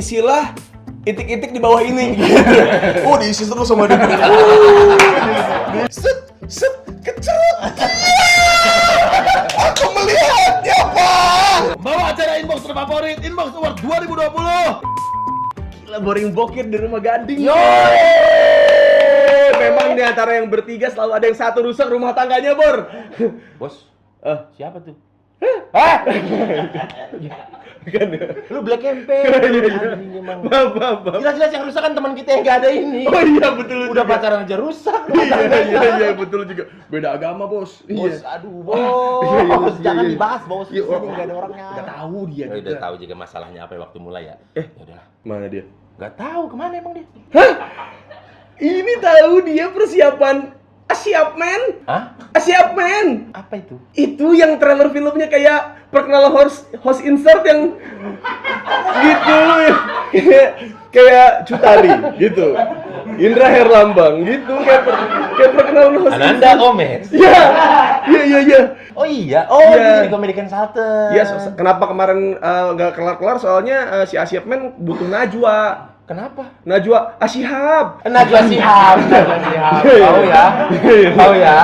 isilah itik-itik di bawah ini gitu. Oh diisi terus sama dia. Oh. Di- Set, set, kecerut. Iya. Aku melihatnya, Pak. Bawa acara Inbox Terfavorit Inbox Award 2020 Gila boring bokir di rumah gading. Yo. Memang di antara yang bertiga selalu ada yang satu rusak rumah tangganya, Bor. Bos, Eh, siapa tuh? Hah? kan. Lu Black Iya, iya. campaign emang. Maaf, maaf, maaf. Jelas-jelas yang rusak kan teman kita yang gak ada ini Oh iya betul. Udah juga. pacaran aja rusak Iya, iya, iya betul juga. Beda agama, Bos. Bos, Iya. aduh Iya, iya, bos iya, Jangan iya. dibahas bos, Iya, ini oh. gak ada orangnya Nggak tahu dia Ya juga. udah tahu juga masalahnya apa waktu mulai ya Eh. Ya udahlah Mana dia? Gak tahu kemana emang dia Ini tahu dia persiapan siap men, Hah? siap men. Apa itu? Itu yang trailer filmnya kayak perkenalan host host insert yang gitu kayak kayak Cutari gitu. Indra Herlambang gitu kayak per, kayak perkenalan host. Ananda Gomez Iya. Iya iya iya. Oh iya, oh Iya. dia jadi comedy consultant Iya, so- so- kenapa kemarin eh, nggak kelar-kelar soalnya eh, si Asyap Men butuh Najwa. Kenapa? Iya, Najwa Asyihab. Najwa Sihab, Najwa Sihab. Tahu ya? Tahu ya?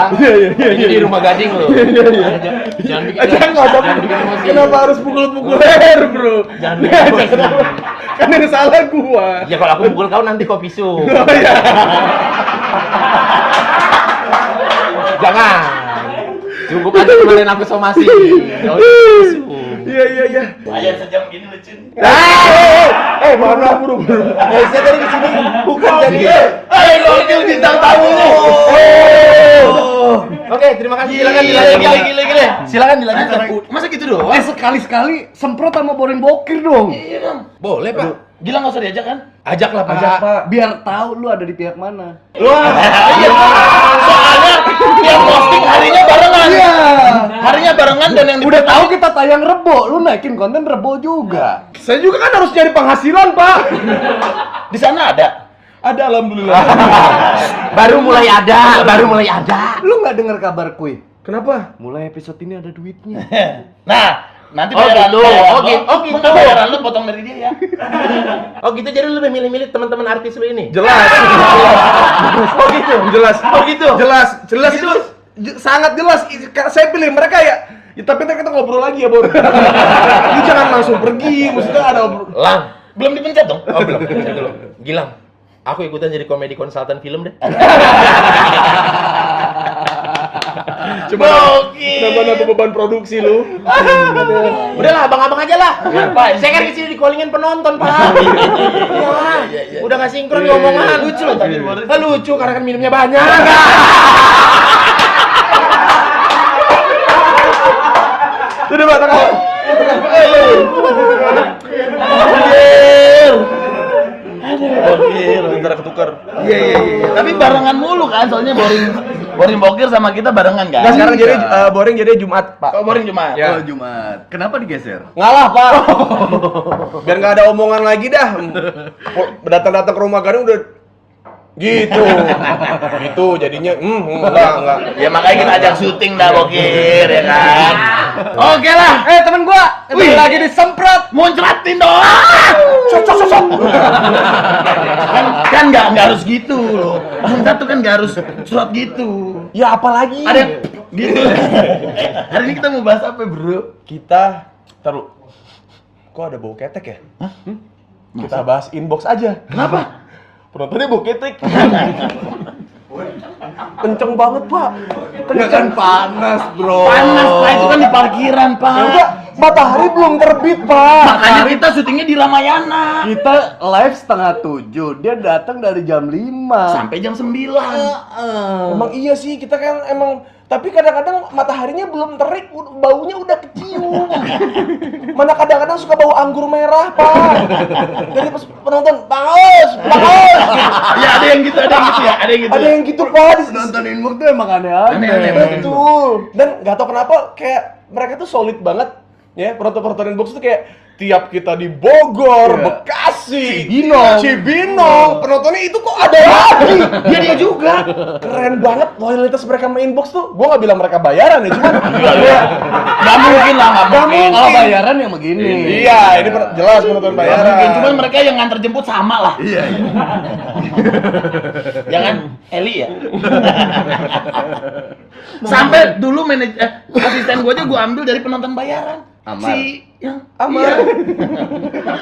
Ini di rumah gading loh. Iya, Jangan Iya, bikin Eh, Jangan ngocok. jangan bikin emosi. Kenapa harus pukul-pukul leher, bro? Jangan Ya, bikin Iya, emosi. jangan. Kan yang salah gua. Ya kalau aku mukul kau nanti kopi su. Oh iya. Jangan. Cukup aja kemarin aku somasi. Kau kopi Iya, iya, iya. Ah, Ayat sejam gini lucu. nih. Eh, mohon maaf, bro, bro. Eh, saya dari kesini bukan jadi. Eh, Hai, gokil bintang tamunya. Oh. Oke, terima kasih. Silakan Gile, gile, dilanjutkan. gile, gile. Silakan dilanjutkan. Masa gitu doang? Eh, sekali-sekali semprot sama boring bokir dong. Iya dong. Boleh, Pak. Gila nggak usah diajak kan? Ajaklah, Pak. Ajak, Pak. Biar tahu lu ada di pihak mana. Iya. Soalnya yang posting harinya barengan. Iya. Harinya barengan dan yang di- Udah tahu kita tayang rebo, lu naikin konten rebo juga. Saya juga kan harus nyari penghasilan, Pak. di sana ada. Ada, alhamdulillah. Baru mulai ada, baru mulai ada. Lu nggak dengar kabar kui? Kenapa? Mulai episode ini ada duitnya. Nah, nanti Oh, bayaran gitu. lu. Oh, gitu. Oh, gitu. bayaran lu potong dari dia ya. Oh gitu jadi lu lebih milih-milih teman-teman artis lu ini. Jelas. Oh gitu. Jelas. Oh, gitu. Jelas. Jelas itu je- sangat jelas. I- ka- Saya pilih mereka ya. Ya, tapi ntar kita ngobrol lagi ya, Bor. Lu jangan langsung pergi, maksudnya ada obrol. Lang. Belum dipencet dong. Oh belum, bentar dulu. Gilang, aku ikutan jadi komedi konsultan film deh. Coba Gokil. nambah-nambah beban produksi lu. Udahlah, abang-abang aja lah. Iya, Pak, saya kan kesini di callingin penonton, Pak. Iya, udah nggak sinkron Iya, ngomongan. iya, Lucu iya. loh tadi. Iya. Lah, lucu karena kan minumnya banyak. Sudah Pak, tangkap. Iya, Gokil, ntar ketukar. Iya, iya, iya. Tapi barengan mulu kan, soalnya boring boring bokir sama kita barengan kan. Nah, sekarang jadi eh, boring jadi Jumat, Pak. Oh, boring cuma. Ya. Jumat. Kenapa digeser? Ngalah, Pak. Biar nggak ada omongan lagi dah. Datang-datang ke rumah Gading udah gitu. gitu jadinya hmm hmm, enggak enggak. Ya makanya kita ajak syuting dah bokir ya kan. Oke lah, Eh temen gua, Wih. ketemu lagi disemprot. muncratin dong. Cocok cocok. Kan kan nggak nggak harus gitu loh. Kita tuh kan nggak harus surat gitu. Ya apalagi Ada yang gitu. Eh, hari ini kita mau bahas apa bro? kita taruh kok ada bau ketek ya? Hmm? Kita bahas inbox aja. Kenapa? Penontonnya bau ketek. Kenceng banget, Pak. Ya Iya kan panas bro. Panas pak itu kan di parkiran pak. Enggak, Iya. matahari belum terbit, Pak. Makanya kita syutingnya di Ramayana Kita live setengah tujuh, dia datang dari jam lima. sampai jam 9 Emang iya sih, kita kan emang tapi kadang-kadang mataharinya belum terik, u- baunya udah kecium. Mana kadang-kadang suka bau anggur merah, Pak. Dari pes- penonton, Pak Aus, Pak Aus. Ya ada yang gitu, ada yang gitu ya, ada yang gitu. Ada yang gitu, Pak. di- Nonton inbox tuh emang aneh-aneh. Aneh-aneh. Betul. Dan nggak tau kenapa kayak mereka tuh solid banget. Ya, penonton-penonton box tuh kayak tiap kita di Bogor, Iya. Bekasi, Asik. Cibinong. Iya. Cibinong. Penontonnya itu kok ada lagi. Iya, Dia dia juga. Keren banget loyalitas mereka sama inbox tuh. Gua nggak bilang mereka bayaran ya, cuman Gak mungkin lah, gak Nggak mungkin. Iya, Kalau bayaran yang begini. Iya. iya, ini per- jelas penonton Nggak mungkin, bayaran. cuman mereka yang nganter jemput sama lah. Iya, iya. ya kan? Eli ya? Sampai dulu manajer eh, asisten gua aja gua ambil dari penonton bayaran. Amar. Si yang Aman. Iya.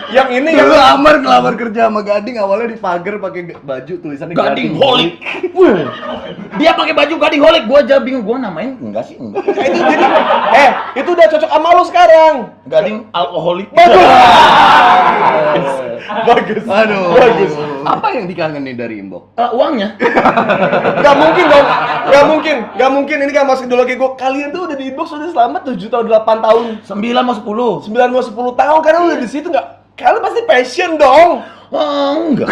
yang ini yang Dulu Amar ngelamar kerja sama Gading awalnya di pagar pakai ge- baju tulisannya Gading Holik. Dia pakai baju Gading Holik, gua aja bingung gua namain enggak sih, enggak. itu jadi eh itu udah cocok sama lo sekarang. Gading alkoholik. Bagus. Bagus. Aduh. Bagus. Apa yang dikangenin dari Imbok? Eh, uangnya. Gak mungkin dong, gak mungkin, gak mungkin ini gak masuk ideologi gue Kalian tuh udah di inbox udah selama 7 tahun, 8 tahun 9 mau 10. 9 mau 10 tahun, karena udah di situ gak Kalian pasti passion dong Oh, enggak.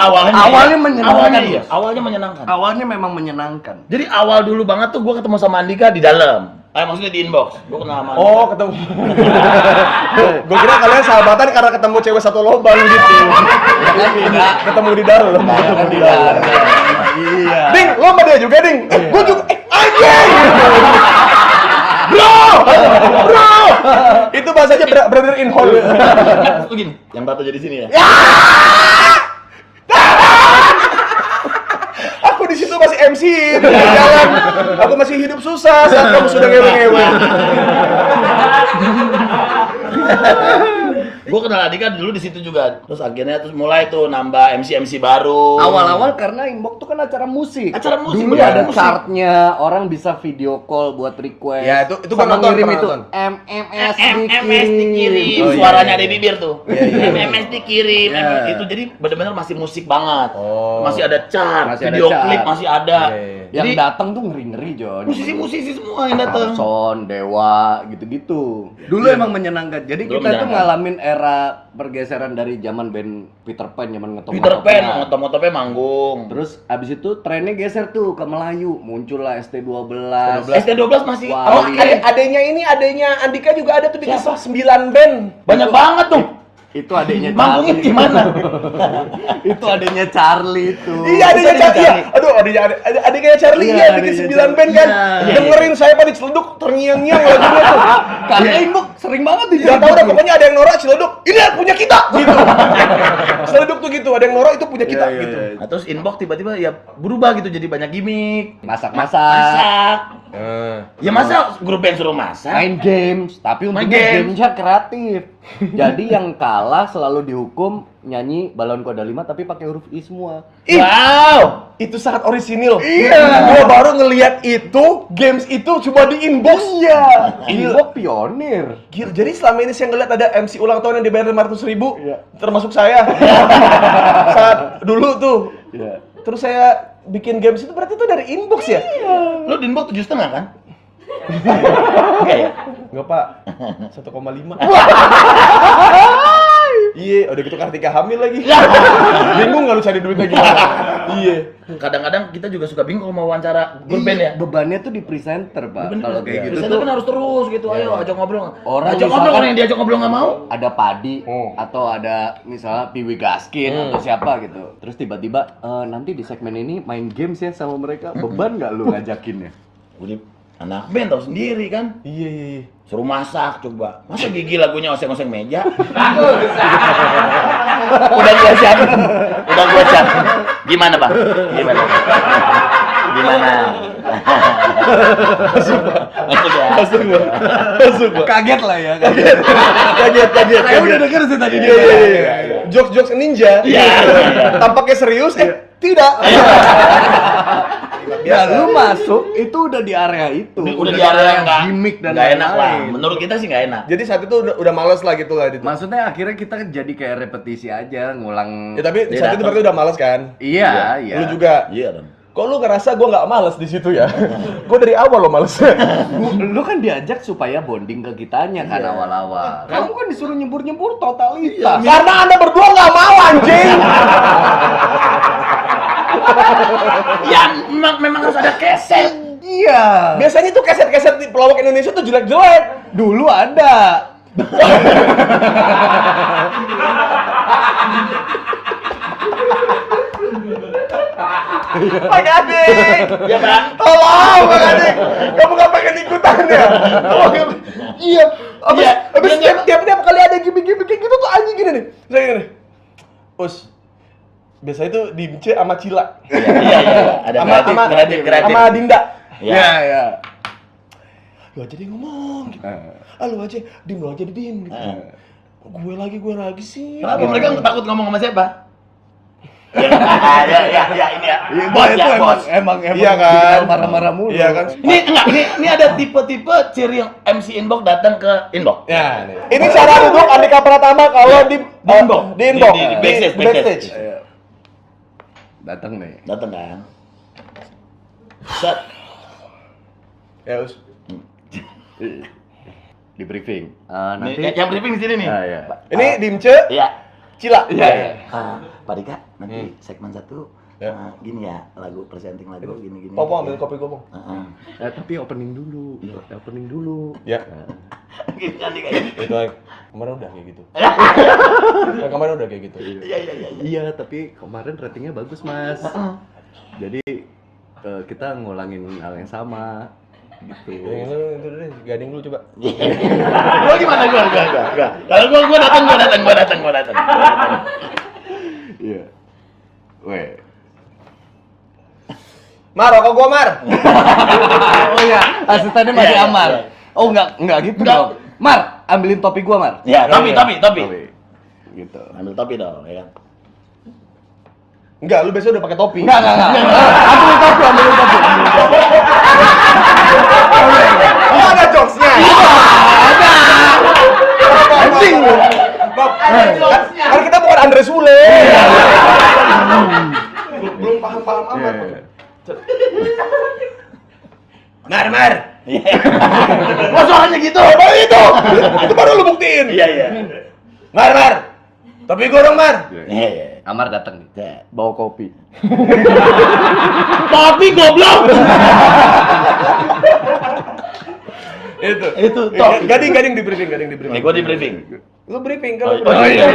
awalnya Awalnya menyenangkan. Awalnya iya, awalnya menyenangkan. Awalnya memang menyenangkan. Jadi awal dulu banget tuh gue ketemu sama Andika di dalam. Eh maksudnya di inbox. Gue kenal sama Andika. Oh ketemu Gue kira kalian sahabatan karena ketemu cewek satu lubang gitu Ketemu di dalam Ketemu di dalam Iya. Ding, lo sama dia juga Ding Eh, gue juga, eh anjing Bro, bro Itu bahasanya bra- brother in hall Terus begini, yang tato jadi sini ya. Aku di situ masih MC di jalan. Aku masih hidup susah saat kamu sudah ngewe-ngewe. Gue kenal Andika dulu di situ juga. Terus akhirnya terus mulai tuh nambah MC MC baru. Awal-awal karena Imbok tuh kan acara musik. Acara musik, Dulu iya, benar, ada musik. chartnya, orang bisa video call buat request. Ya, itu- itu gua Sama nonton, ngirim pernah itu nonton. MMS MMS dikirim, dikirim. Oh, iya, suaranya ada di bibir tuh. MMS dikirim, MMS itu jadi benar-benar masih musik banget. Oh. Masih ada chart, Masih ada video chart. klip masih ada. Iya, iya. Yang Jadi datang tuh ngeri-ngeri, Jon. musisi-musisi semua yang datang. Son, Dewa, gitu-gitu. Dulu Iya. emang menyenangkan. Jadi Dulu kita tuh menyenangkan. ngalamin era pergeseran dari zaman band Peter Pan, zaman ngetop Peter Pan, motor-motornya manggung. Terus abis itu trennya geser tuh ke Melayu, muncullah ST12. ST12 masih ya? Wah, Oh, awal iya. ade- adenya ini, adenya Andika juga ada tuh bikin Siapa? 9 band. banyak banget tuh. Itu adiknya Manggungnya gimana? itu adiknya Charlie itu. Iya, adenya Tadi Charlie. Iya. Charlie. Aduh, adenya ade- ade- adenya Charlie Iya, iya bikin adenya 9 band kan. Charlie. Iya. Dengerin saya pada celeduk terngiang-ngiang lagunya tuh. Karena gitu. Imbok sering banget Iya, di Gak tau dah, pokoknya ada yang norak celeduk. Ini yang punya kita gitu. celeduk tuh gitu, ada yang norak itu punya kita Iya, iya, gitu. iya. Nah, terus inbox tiba-tiba ya berubah gitu jadi banyak gimmick. masak-masak, Masak. Ya masa grup band suruh masak? main games, tapi Main untungnya games. gamenya kreatif. Jadi yang kalah selalu dihukum nyanyi balon kuda lima tapi pakai huruf i semua. Ih. Wow. itu sangat orisinil. Iya. Gua baru ngelihat itu games itu cuma di inbox. Iya. Imbok pionir. Gila, jadi selama ini saya ngeliat ada MC ulang tahun yang dibayar 500 ribu, Iya. termasuk saya. Saat dulu tuh. Iya. Terus saya bikin games itu berarti itu dari inbox ya? Lu di inbox tujuh setengah kan? Enggak ya? Enggak pak, 1,5 Iya, udah gitu Kartika hamil lagi Bingung gak lu cari duitnya gimana? Iya Kadang-kadang kita juga suka bingung mau wawancara grup band ya. Bebannya tuh di presenter, Pak. Kalau kayak gitu Presenter tuh kan harus terus gitu, ayo ajak ngobrol. Orang ajak ngobrol misalkan- orang kan yang diajak ngobrol nggak mau. ada Padi Hmm. Oh. atau ada misalnya Piwi Gaskin Hmm. atau siapa gitu. Terus tiba-tiba "Eh, nanti di segmen ini main games ya sama mereka. Beban nggak lu ngajakinnya? Gue anak band tau sendiri kan. Iya, iya, iya Suruh masak coba. Masa gigi lagunya oseng-oseng meja? Udah gua siap. Udah gua siap. Gimana, Bang? Gimana? Gimana? Masuk ya. Masuk gua, masuk gua Kaget lah ya. Kaget, kaget, Saya kaget udah denger sih tadi Iya, dia. iya, iya Jokes-jokes ninja Iya. Tampaknya serius, Iya. eh tidak Ya lu masuk itu udah di area itu. Iya, kan? Udah, udah di area yang nggak- gimmick dan nggak enak lah. lain-lain. Menurut kita sih nggak enak. Jadi saat itu udah, udah males lah gitu lah gitu. Maksudnya akhirnya kita jadi kayak repetisi aja ngulang. Ya tapi Dia saat itu datang. berarti udah males kan? Iya, iya. Lu juga. Iya dong. Kok lu ngerasa gua nggak males di situ ya? gua dari awal lo males. Lu- lu kan diajak supaya bonding ke kitanya kan awal-awal. Kamu kan disuruh nyebur-nyebur totalitas. Karena anda berdua nggak mau anjing. Ya, memang, memang harus ada keset. Iya. Biasanya tuh keset-keset di pelawak Indonesia tuh jelek-jelek. Dulu ada. Pak Gading, Ya kan? Iya, tolong Pak Gading, kamu nggak pengen ikutan ya? Tolong, ya? iya, abis, Iya, abis iya, tiap, iya. tiap, tiap kali ada gimmick-gimmick kayak gitu tuh anjing gini nih, saya gini, nih. us, biasanya tuh dimce sama Cila, Iya, iya. Ada Sama- kreatif, sama- kreatif, kreatif. sama Dinda, Ya. ya. lu aja deh ngomong, gitu. ah lu aja, dim lu aja deh dim, gitu. Eh. gue lagi gue lagi sih, Kenapa mereka takut ngomong sama siapa? Iya, ya, ya, ya, ini ya. Bos ya, bos. Iya, emang emang Iya kan? dikenal marah-marah mulu. Iya kan? Ini enggak, ini, ini ada tipe-tipe ciri yang MC Inbox datang ke Inbox. Ya, nih. ini cara duduk Andika Pratama kalau di Di Inbox. di Inbox. Di- di- di backstage, backstage. Iya. Datang nih. Datang kan? Set. Ya, us. Di briefing. Ah, Nih, nanti yang- yang briefing di sini nih. Ah, Nah, iya. Ini Dimce Iya. Cila. Iya, iya. Ah, Pak Dika, nanti Hmm. segmen satu ah, gini ya lagu presenting lagu gini gini. Popong ambil kopi kopong. Ah, ah. Eh, tapi opening dulu. Eh, Opening dulu. Ya. Gini kan nih kayaknya. Itu like, kemarin udah kayak gitu. Nah, kemarin udah kayak gitu. Iya, iya, iya. Iya, tapi kemarin ratingnya bagus, Mas. Ah, Jadi eh, kita ngulangin hal yang sama Yang gitu. itu itu deh, gading dulu coba. Gua gimana gua? Gua, gua, gua. Kalau gua gua datang, gua datang, gua datang, gua datang. Gua datang. Iya. Weh. Mar, rokok gua Mar. Oh iya, asistennya masih Iya, iya, Amar. iya. Oh enggak, enggak gitu Enggak. dong. Mar, ambilin topi gua, Mar. Ya, Iya, tapi, tapi, tapi. Gitu. Ambil topi dong, ya kan. Enggak, lu biasanya udah pakai topi. Enggak, enggak, enggak. Ambilin topi, ambilin topi. ambilin topi. Oh, ada jokesnya. Ada. Anjing lu. Maaf. Kan kan kita bukan Andre Sule. Belum- Belum paham-paham amat. Iya. Mar, Mar. Wah, suaranya gitu. Iya. Apa itu? Itu baru lu buktiin. Iya, iya. Mar, Mar. Topi gua dong, Mar. Iya, iya. Amar datang nih. Ya. Bawa kopi. Tapi goblok. Itu. Itu Ga- Gading, gading di briefing, gading di Nih briefing. Eh, gua di briefing. Lu briefing kalau Oh, briefing. iya.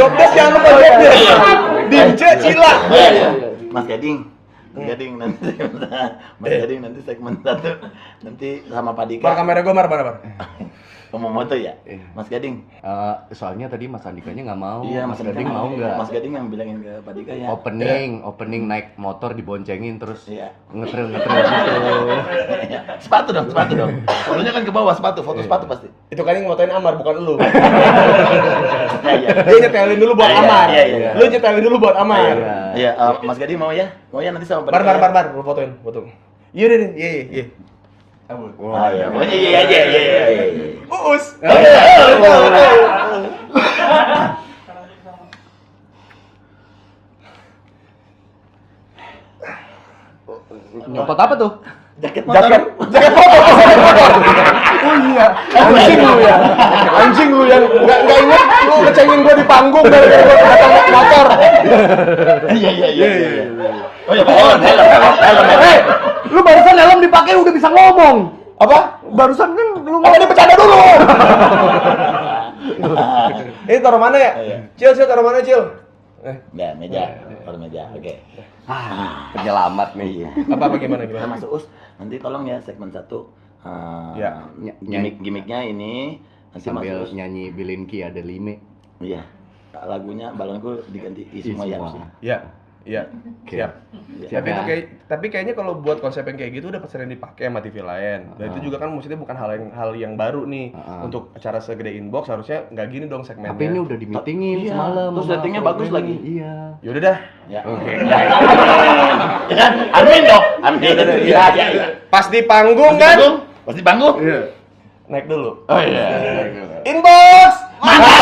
Job desk jangan lupa job Iya, desk. Dimce Cila. ya? Iya, Mas Gading, Mas Hmm. Gading nanti segmen satu. Mas Gading nanti segmen satu nanti sama Pak Dika Mar kamera gua mar mana mar? ngomong moto ya. Mas Gading. Eh, soalnya tadi Mas Andikanya nggak mau. Mas Iya, Gading Gading mau nggak? Mas Gading yang bilangin ke Pak Dika ya. opening opening naik motor diboncengin terus Iya. ngetril ngetril gitu Sepatu dong, sepatu dong. Fotonya kan ke bawah sepatu, foto sepatu pasti. Itu kan yang ngotain Amar bukan lu. Iya, iya. Dia nyetelin dulu buat Iya, Amar. iya, iya. Lu nyetelin dulu buat Amar. Iya, eh, Mas Gading mau ya? Mau ya nanti sama Pak Mar mar Dika ya? mar mar lu fotoin, foto. Iya deh, deh, iya iya iya. Ah, iya. Pokoknya iya aja, iya iya iya. Uus. Iya, nyopot apa tuh Jaket motor. Jaket jaket foto. jaket foto. Oh iya. Anjing lu ya. Anjing lu yang enggak enggak ingat lu ngecengin gua di panggung gara-gara gua datang naik motor. Iya iya iya. iya, iya. Oh iya, oh helm, helm, helm, helm. eh lu barusan helm dipakai udah bisa ngomong Apa? barusan kan Lu lu ini bercanda dulu. Ini taruh mana ya? Cil, Cil taruh mana, Cil? Eh, Ya, meja, taruh meja. Oke. ah, penyelamat iya. nih apa apa gimana Kita gimana? masuk us. Nanti tolong ya segmen satu. eh, Ya. ny- Gimik-gimiknya ini nanti sambil masuk us. nyanyi Bilinki ada lime Iya. Lagunya balonku diganti i semua ya. Iya, semua. harusnya. Ya, iya. Oke. Siap. Siap Iya, tapi ya? itu kayak tapi kayaknya kalau buat konsep yang kayak gitu udah sering dipakai sama TV lain. Dan itu juga kan maksudnya bukan hal yang hal yang baru nih Ah. untuk acara segede inbox harusnya nggak gini dong segmennya. tapi ini udah dimitingin Iya, semalam terus sama ratingnya Febri. bagus lagi. iya Yaudah dah. Ya. Iya Ya kan? Amin dong. Amin. Yaudah dah, Iya, iya, iya. Pas di panggung Pasti kan? panggung. Pasti panggung. Naik dulu. Oh iya. Inbox. Mantap.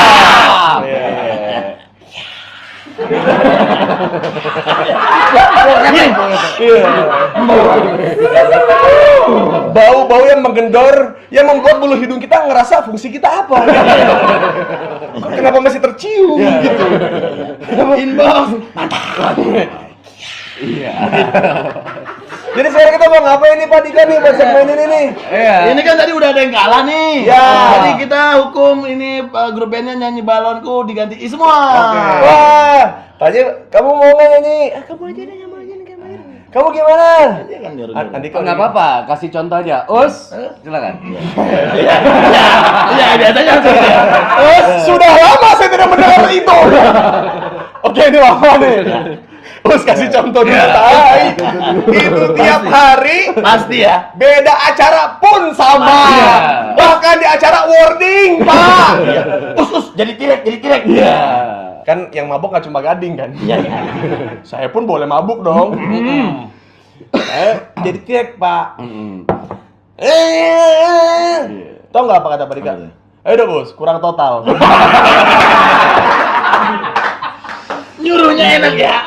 Iya, iya, iya. Bau-bau yang menggendor yang membuat bulu hidung kita ngerasa fungsi kita apa? Kok Kenapa masih tercium Iya. gitu? Inbox. iya Jadi sekarang kita mau ngapain nih Pak Dika nih buat segmen ini nih? Ini kan tadi udah ada yang kalah nih. Ya. Jadi kita hukum ini uh, grup bandnya nyanyi balonku diganti Isma. Wah, tanya kamu mau nggak nyanyi? Ah, kamu aja deh, kamu aja deh, kamu aja. deh. Kamu gimana? Dia kan nyuruh. A- Ah, Andi Oh, nggak apa-apa, kasih contoh aja. Us, silakan. Iya, biasanya seperti itu. Eh, sudah lama saya tidak mendengar itu. Oke, ini lama nih. Terus kasih contoh dulu, Tai. Itu tiap hari Pasti ya. beda acara pun sama. Iya. Bahkan di acara wording, Pak. Us us jadi tirek, jadi tirek. Iya. Kan yang mabok nggak cuma gading kan? Iya, iya. Saya pun boleh mabuk dong. Eh, jadi tirek, Pak. Mm-mm. Eh, Iya. Tau nggak apa kata Pak Dika? Ayo dong, Gus, kurang total. Nyuruhnya enak ya.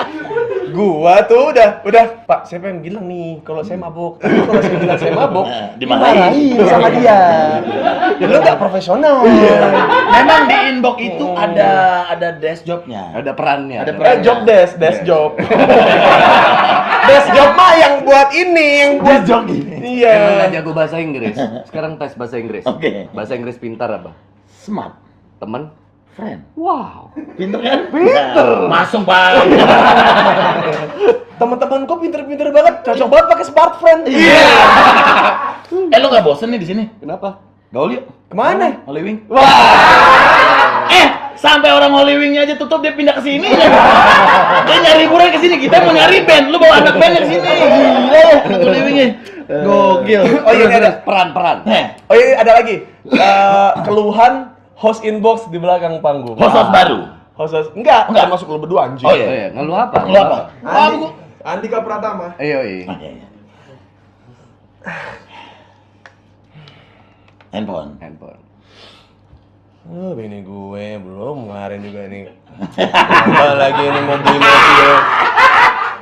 gua tuh udah udah pak saya pengen bilang nih kalau saya mabok tapi kalau saya bilang saya mabok Nah, Iya. dimarahin. dimarahin Iya, sama dia lu nggak profesional Iya, Eh, Memang di inbox itu ada ada desk jobnya. Ada perannya. Ada eh job desk desk job desk job mah yang buat ini yang buat Jog ini. iya Emang nggak jago bahasa Inggris. Sekarang tes bahasa Inggris. Oke. Bahasa Inggris pintar apa? Smart. Temen? Friend. Wow. Pinter kan? Pinter. Masuk pak. teman-teman kok pinter-pinter banget cocok banget pakai smart friend Iya. Eh lo nggak bosen nih di sini? Kenapa? Gaul yuk. kemana Holy Wing. Wah. Eh, sampai orang Holy Wing-nya aja tutup dia pindah ke sini. dia nyari hiburan ke sini. Kita mau nyari band. Lu bawa anak band ke sini. Gila ya, anak Holy Wing-nya. Gokil. oh iya ini ada Peran-peran. Eh, oh iya ada lagi Eh, keluhan host inbox di belakang panggung Ah, host baru. host, host enggak enggak masuk lu berdua anjing Oh, Oh iya, ngeluh apa? Lu apa? Ah, Andi- gua- Andika Pratama Iya, iya. Iya, iya. Handphone. Handphone. Oh, bini gue belum kemarin juga nih. Apa lagi ini mau beli mobil.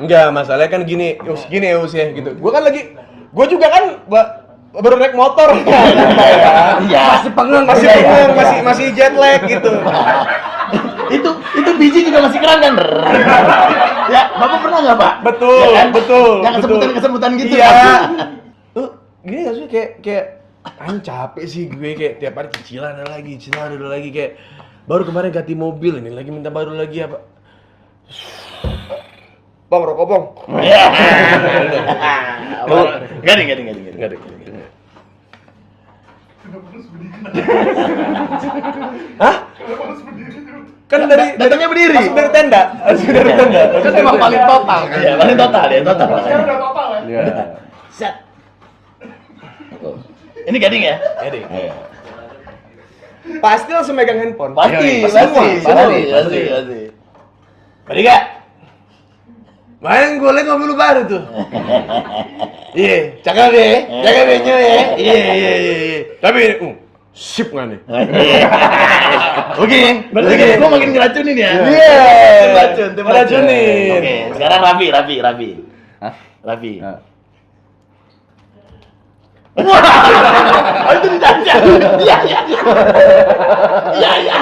Enggak, masalahnya kan gini, us gini ya us ya gitu. Gue kan lagi, gue juga kan ba- baru naik motor ya. Iya. Masih pengen, masih pengen, masih masih jet lag gitu. itu itu biji juga masih keren kan ya bapak pernah nggak pak Betul, Ya kan? betul, yang betul. kesemutan kesemutan gitu Iya. kan? Lu gini gak sih kayak kayak anjing capek sih gue kayak tiap hari cicilan ada lagi, cicilan ada lagi kayak baru kemarin ganti mobil ini lagi minta baru lagi apa. Bang rokok bang. Oh. Gading, gading, gading, gading. Enggak deh. Hah? Kan dari Datangnya Iya. berdiri. Langsung dari tenda. Langsung dari tenda. Kan emang paling total kan? Iya, paling total ya, total. Iya. Set. Ini gading ya? Jadi, Pasti langsung megang handphone. Pasti, Iya, iya. pasti, Semua, pasti, pasti, pasti, pasti. Beri gak? Main gue liat mobil lu baru tuh. Iya, cakep ya, cakep ya, Nyu, ya. Iya, iya, iya. iya. Tapi ini, uh, sip nggak nih? Oke, berarti Oke. gue makin ngeracunin ya. Iya. Tim racun, tim racun. Racunin. Oke, sekarang Raffi, Raffi, Raffi. Hah? Raffi. Nah. Oh, itu dicacat. Iya, iya. Iya, iya.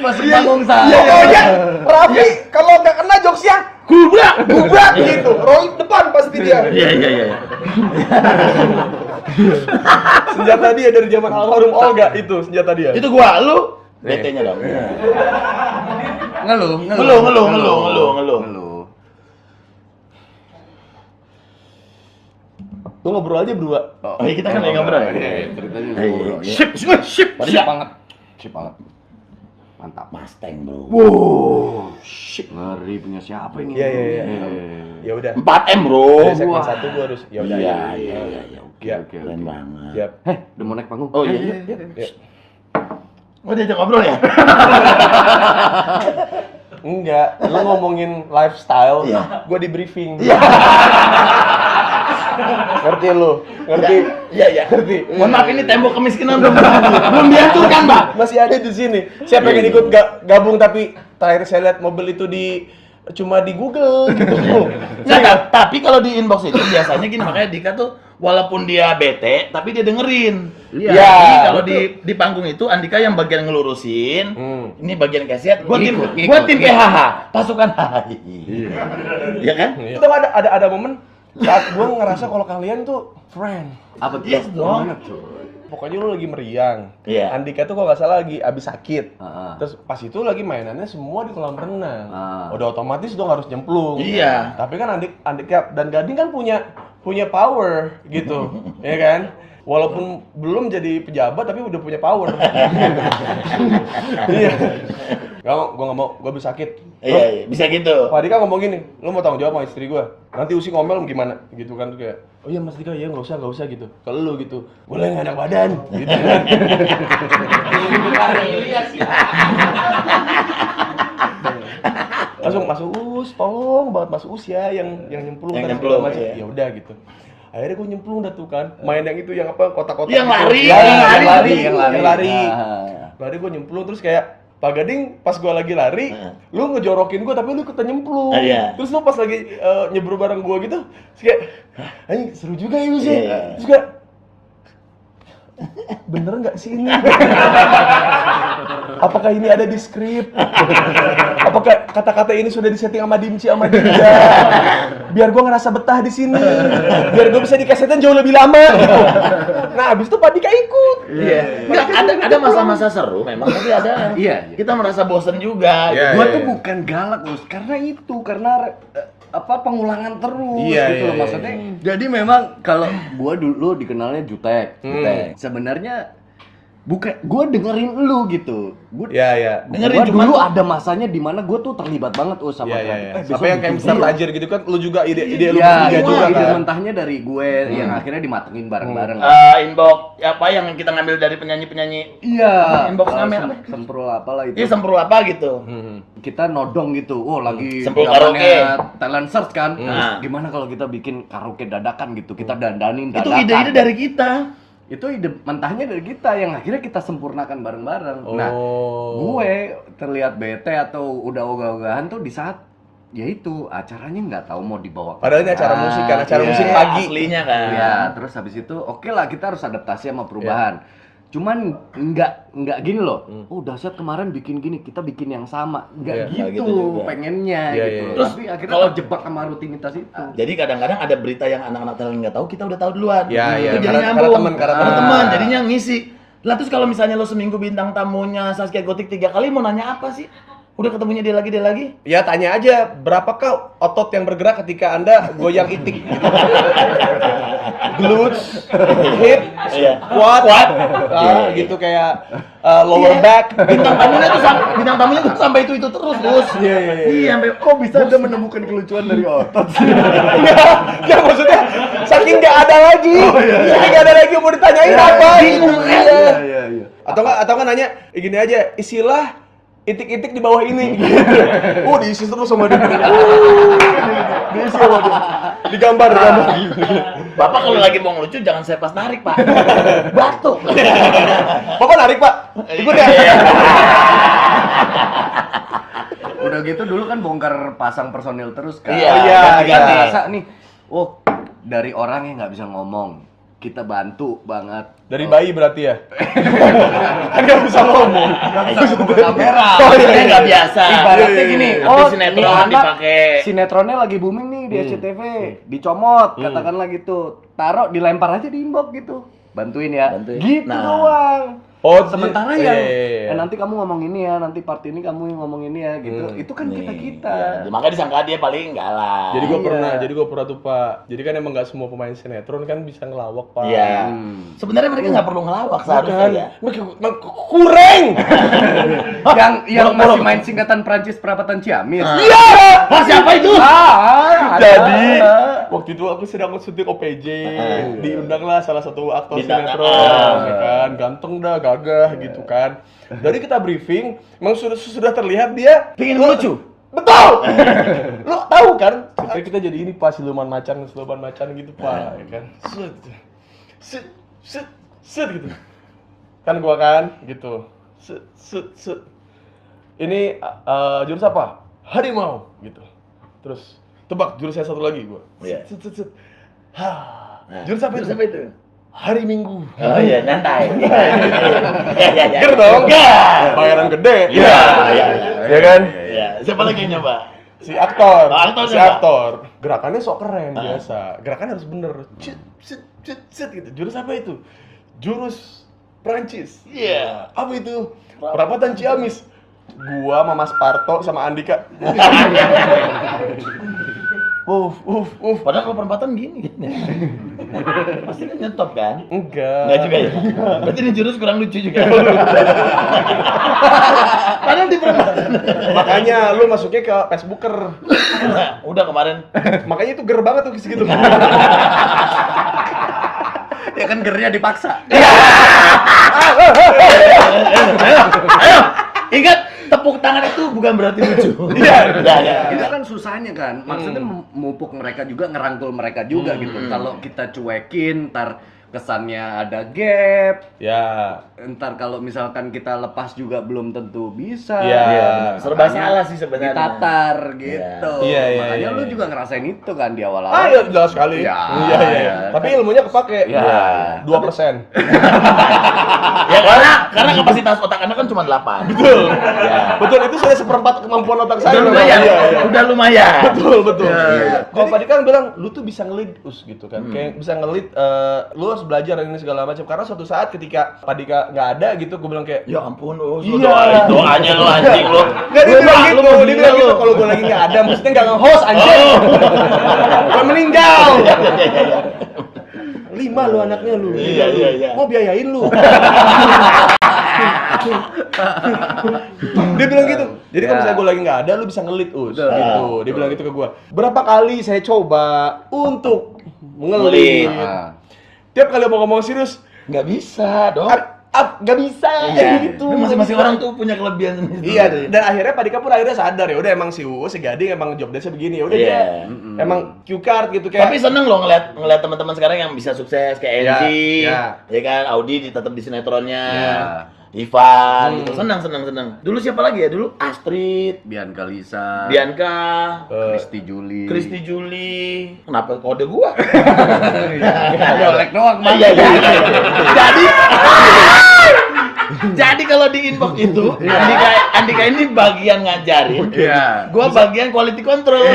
Masih bangun saya. iya. Pokoknya Raffi Iya, kalau nggak kena jokesnya gubrak, gubrak gitu. Roll depan pasti dia. Iya, iya, iya. Senjata dia dari zaman almarhum Olga itu senjata dia. Itu gua, lu BT-nya dong. Ngeluh, ngeluh. Ngeluh, ngeluh, ngeluh, ngeluh, ngeluh. Ngeluh. Lu ngobrol aja berdua. Oh, iya, kita kan lagi ngobrol. ya? Iya, iya, ceritanya Iya, ngobrol. iya. Sip, sip, sip. Sip banget. Sip banget. Mantap. Mustang, bro. Wow. Shit. Ngeri punya siapa ini? Iya, iya, iya. Ya udah. 4M, bro. Dari segmen Wah. satu gua harus. Ya udah. Oh, Iya, ya. iya, iya, iya. Iya. Oke, oke. Keren banget. Siap. Heh, Eh, udah mau naik panggung. Oh, iya, iya. Ya. Oh, diajak ngobrol ya? Enggak, lu ngomongin lifestyle, Iya. gua di briefing. Iya. Ngerti lu? Ngerti? Iya, iya. Ngerti? Mohon maaf ini tembok kemiskinan belum belum dihancurkan, Pak. Iya, Masih ada di Iya sini. Saya pengen ikut ga- gabung tapi terakhir saya lihat mobil itu di cuma di Google Iya, gitu. Nggak, kan? ta- Nah, tapi kalau di inbox itu biasanya gini makanya Dika tuh walaupun dia bete tapi dia dengerin. Iya. Jadi kalau di di panggung itu Andika yang bagian ngelurusin, Hmm. ini bagian kasihan, gua tim Ngikut, gua ngikut, tim ngikut. PHH, pasukan HI. Iya kan? Itu ada ada ada momen saat gue ngerasa kalau kalian tuh friend. Apa tuh? Yes, dong. Gimana tuh? Pokoknya lu lagi meriang. Iya. Andika tuh kalau nggak salah lagi abis sakit. Ah. Terus pas itu lagi mainannya semua di kolam renang. Ah. Udah otomatis dong harus nyemplung. Iya. Tapi kan Andik Andika dan Gading kan punya punya power gitu, ya kan? Walaupun belum jadi pejabat tapi udah punya power. Iya. Gak mau, gue gak mau, gue bisa sakit. Iya, Oh. iya, bisa gitu. Pak Dika ngomong gini, lu mau tanggung jawab sama istri gue, nanti usi ngomel gimana, gitu kan Terus kayak, oh iya Mas Dika, iya nggak usah, nggak usah gitu, ke lu gitu, boleh nggak enak badan, gitu kan. langsung Mas Uus, tolong banget Mas Uus ya yang yang nyemplung Yang tadi nyemplung, segala macam." iya. ya udah gitu. Akhirnya gue nyemplung dah tuh kan, main yang itu yang apa kotak-kotak Yang gitu. lari, Ya, yang yang lari, lari, yang lari, yang lari. Ah. Lari gue nyemplung terus kayak Pak Gading pas gue lagi lari, Heeh. lu ngejorokin gue tapi lu ikutan nyemplung. Ah, iya. Terus lu pas lagi eh, nyebur bareng gue gitu, terus kayak, anjing seru juga ini sih. Iya, iya. Terus kayak, bener nggak sih ini? Apakah ini ada di skrip? Apakah kata-kata ini sudah disetting sama Dimci sama Dinda? Biar gue ngerasa betah di sini. Biar gue bisa dikesetin jauh lebih lama. Gitu. Nah, abis itu Pak Dika ikut. Iya. Nggak, ada ada masa-masa seru memang tapi ada yang Iya, iya. kita merasa bosen Iya, juga. gitu. Gua iya, tuh iya. bukan galak, Gus. Karena itu, karena eh, apa pengulangan terus Iya, gitu loh iya, maksudnya. Jadi memang kalau gua dulu dikenalnya jutek, jutek. Sebenarnya bukan gua dengerin lu gitu. Gua Iya, Ya ya. Dengerin, Gua cuman dulu tuh- ada masanya di mana gua tuh terlibat banget oh Ya sama ya kreatif. ya. Eh, besok Apa yang kayak bikin Mister dia. Tajir gitu kan lu juga ide ide lu Iya, bertiga itu juga ide kan. mentahnya dari gue yang akhirnya dimatengin bareng-bareng. Eh, inbox apa yang kita ngambil dari penyanyi-penyanyi Iya. Inbox Eh, ngamen. sem- Semprul apalah itu. Iya semprul apa gitu. Hmm, kita nodong gitu, oh lagi Semprul zamannya karaoke. talent search kan, Terus Hmm. Nah. Hmm. gimana kalau kita bikin karaoke dadakan gitu, kita dandanin Itu dadakan. ide-ide dari kita. itu ide mentahnya dari kita yang akhirnya kita sempurnakan bareng-bareng. Oh. Nah, Oh. gue terlihat bete atau udah ogah-ogahan tuh di saat yaitu acaranya nggak tahu mau dibawa. Padahal ini acara musik kan, acara iya. musik pagi. Iya. aslinya kan. Ya, terus habis itu oke lah kita harus adaptasi sama perubahan. Cuman nggak nggak gini loh. Oh dahsyat kemarin bikin gini, kita bikin yang sama. Iya, Nggak nggak gitu, gitu juga. pengennya Iya, gitu. iya, iya. Terus Tapi akhirnya Ah. kalau- kalau jebak sama rutinitas itu. Jadi kadang-kadang ada berita yang anak-anak talent nggak tahu, kita udah tahu duluan. Ya, Itu ya, jadi karena- nyambung. Ah. karena teman, karena teman. iya. teman, jadinya ngisi. Lah terus kalau misalnya lo seminggu bintang tamunya Saskia Gotik tiga kali mau nanya apa sih? Udah ketemunya dia lagi dia lagi. Ya tanya aja berapakah otot yang bergerak ketika Anda goyang itik gitu. Glutes, Iya. hip, quad, ah, gitu kayak uh, lower Iya. back. Bintang tamunya tuh sam- bintang tamunya tuh sampai itu itu terus, Gus. Iya, iya, iya. Iya, sampai kok bisa Anda menemukan kelucuan dari otot. ya maksudnya saking nggak ada lagi, Oh, saking nggak ada lagi yang mau ditanyain apa gitu. Iya. Iya, iya. Atau nggak atau nggak nanya eh, gini aja isilah itik-itik di bawah ini. Gitu. Oh diisi terus sama dia. Uh, diisi sama dia. Digambar, digambar. Bapak kalau lagi mau ngelucu jangan saya pas narik, Pak. Batuk. Bapak narik pak, Iya. ikut ya. Udah gitu dulu kan bongkar pasang personil terus kan. Iya, Dan iya, kita iya. merasa nih, oh dari orang yang nggak bisa ngomong, kita bantu banget. Dari bayi berarti ya? kan gak bisa ngomong. Nggak bisa ngomong ke kamera. Oh, iya, nggak biasa. Ibaratnya gini, Iya. Tapi oh sinetron ini anak dipakai. sinetronnya lagi booming nih di SCTV, dicomot katakanlah gitu, taruh dilempar aja di inbox gitu, bantuin ya, Bantuin. gitu Nah. doang. Oh, sementara iya, yang iya, iya. "Eh, nanti kamu ngomong ini ya, nanti part ini kamu yang ngomong ini ya gitu, itu kan kita kita. Ya, makanya disangka dia paling enggak lah. Jadi gue Iya. pernah, jadi gue pernah tuh pak. Jadi kan emang gak semua pemain sinetron kan bisa ngelawak pak. Iya. Hmm. Sebenarnya mereka nggak perlu ngelawak seharusnya Kan, ya. mak- mak- kurang. yang yang masih main singkatan Prancis perapatan Ciamis. Ah. Iya. Wah, siapa itu? Ah, ada. Jadi waktu itu aku sedang syuting OPJ, diundanglah salah satu aktor Bintang sinetron, ya kan, ganteng dah, gagah gitu kan. Dari kita briefing, memang sudah sudah terlihat dia Pingin lucu. Betul. Lo tahu kan? Kita, kita jadi ini pas siluman macan, siluman macan gitu pak, ya kan? Set, set, set, set gitu. Kan gua kan, gitu. Set, set, set. Ini uh, jurus apa? eh, Harimau, gitu. Terus tebak jurus saya satu lagi gua. Iya. Set, set, set. Ha. Nah, Jurus apa itu? Jurus apa itu? Hari Minggu. Oh iya, nyantai. Ya, ya, ya. Ger dong. Ger. Bayaran gede. Iya, iya, Ya kan? iya. Siapa lagi yang nyoba? Si aktor. Oh, aktor si siapa? aktor. Gerakannya sok keren biasa. Gerakannya harus bener. Cet, cet, cet, cet gitu. Jurus apa itu? Jurus Prancis. Ah, Iya. Apa itu? Perapatan Ciamis. Gua sama Mas Parto sama Andika. Uf, uf, uf. Padahal kalau perempatan gini. Pasti kan nyetop kan? Enggak. Enggak juga ya. Berarti ini jurus kurang lucu juga. Padahal di perempatan. Makanya lu masuknya ke Facebooker. Udah kemarin. Makanya itu ger banget tuh gitu. segitu. Ya kan gernya dipaksa. Ayo, ingat tepuk tangan itu bukan berarti lucu. Iya, iya, iya. itu kan susahnya kan maksudnya mem- memupuk mereka juga ngerangkul mereka juga gitu kalau kita cuekin ntar kesannya ada gap ya. ntar kalau misalkan kita lepas juga belum tentu bisa Iya. Iya, benar. Serba Makanya salah sih sebenarnya. ditatar gitu Iya, iya, makanya iya, lu iya. juga ngerasain itu kan di awal-awal Ah, ya jelas sekali. Ya, iya, iya. ya. Tapi ilmunya kepake. Ya. Dua persen. Ya karena karena kapasitas otak Anda kan cuma 8. Betul. Ya. Betul, itu sudah seperempat kemampuan otak saya. Udah memang. lumayan. Iya, iya. Udah lumayan. Betul, betul. Ya, Kalau tadi kan bilang, lu tuh bisa ngelit us gitu Hmm. kan. Kayak bisa ngelit, eh, lu harus belajar ini segala macam. Karena suatu saat ketika Padika nggak ada gitu, gue bilang kayak, Ya ampun, oh, Iya. doain doanya lo anjing lo. Nggak, dia bilang gitu, Lu dia bilang gila, gitu. lu. Kalau gue lagi nggak ada, maksudnya nggak nge-host anjing. Gue meninggal. Lima lu anaknya lu. Iya, iya, iya. Mau biayain lu. dia bilang gitu. Jadi kalau misalnya gue lagi nggak ada, lu bisa ngelit us. Gitu. Dia bilang gitu ke gue. Berapa kali saya coba untuk ngelit. Ah. Nah, Tiap kali mau ngomong serius, Nggak bisa dong. ah, ah, nggak bisa. kayak gitu. Lu Masing-masing orang tuh punya kelebihan sendiri. Iya, dan akhirnya Padika pun akhirnya sadar ya udah emang si Uu, si Gading emang job desk-nya begini ya udah Iya. dia emang cue card gitu kayak Tapi seneng loh ngeliat ngeliat teman-teman sekarang yang bisa sukses Ya, kayak Enzi, ya. ya kan Audi tetap di sinetronnya, Ya. Ivan, gitu. senang senang senang. Dulu siapa lagi ya dulu Astrid, Bian Kalisa Bianca, Eh, Kristi Juli Kristi Juli, kenapa kode gua? ada oleh doang Bang. Iya iya. iya. Jadi jadi kalau di inbox itu Andika Andika ini bagian ngajarin, Iya. gua bagian quality control.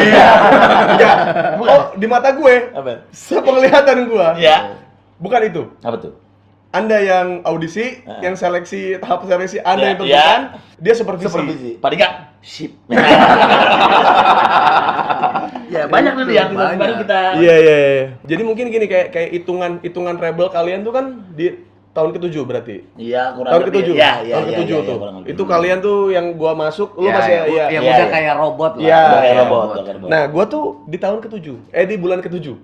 ya, oh di mata gue Apa? sepenglihatan gue Iya. bukan itu Apa tuh? anda yang audisi, Ah. yang seleksi tahap seleksi anda Ya, yang tentukan, dia supervisi. Supervisi. Padika, sip. ya banyak nanti yang kita Banyak. baru kita. Iya iya. iya. Jadi mungkin gini kayak kayak hitungan hitungan rebel kalian tuh kan di tahun ketujuh berarti. Iya kurang tahun lebih. ketujuh. Ya, ya, tahun ya, ketujuh ya, ya, tuh. kurang lebih. itu kalian tuh yang gua masuk, lu Ya, masih yang, iya. yang iya, udah iya. kayak robot lah Iya. Udah kayak Kayak robot, udah kayak robot. Nah, gua tuh di tahun ketujuh, eh di bulan ketujuh.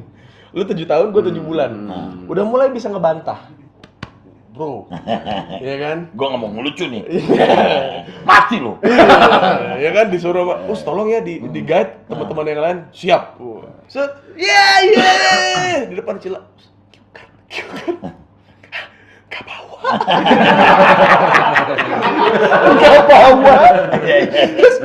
Lu tujuh tahun, gua tujuh bulan. Udah mulai bisa ngebantah, bro. Iya kan? gua nggak mau ngelucu nih. Mati lu. Iya kan disuruh, Pak. Us tolong ya di di guide teman-teman yang lain. Siap. Set. Iya, iya. Di depan Cila. Gak bawa. Gak bawa. Terus,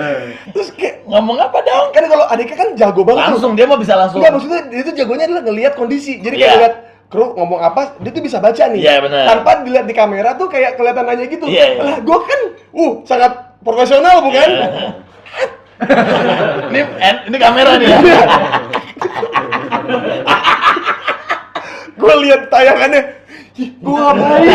terus kayak Iya, Ngomong apa dong? kan kalau adiknya kan jago banget tuh. Langsung dia mau bisa langsung. Enggak Iya, maksudnya dia tuh jagonya adalah ngelihat kondisi. Jadi kayak Oh. Iya. lihat kru ngomong apa, dia tuh bisa baca nih. Iya, benar. Tanpa dilihat di kamera tuh kayak kelihatan aja gitu. Iya, iya. Lah, gua kan uh sangat profesional bukan? ini en- ini kamera Iya, nih. gua lihat tayangannya "Ih, gua ngapain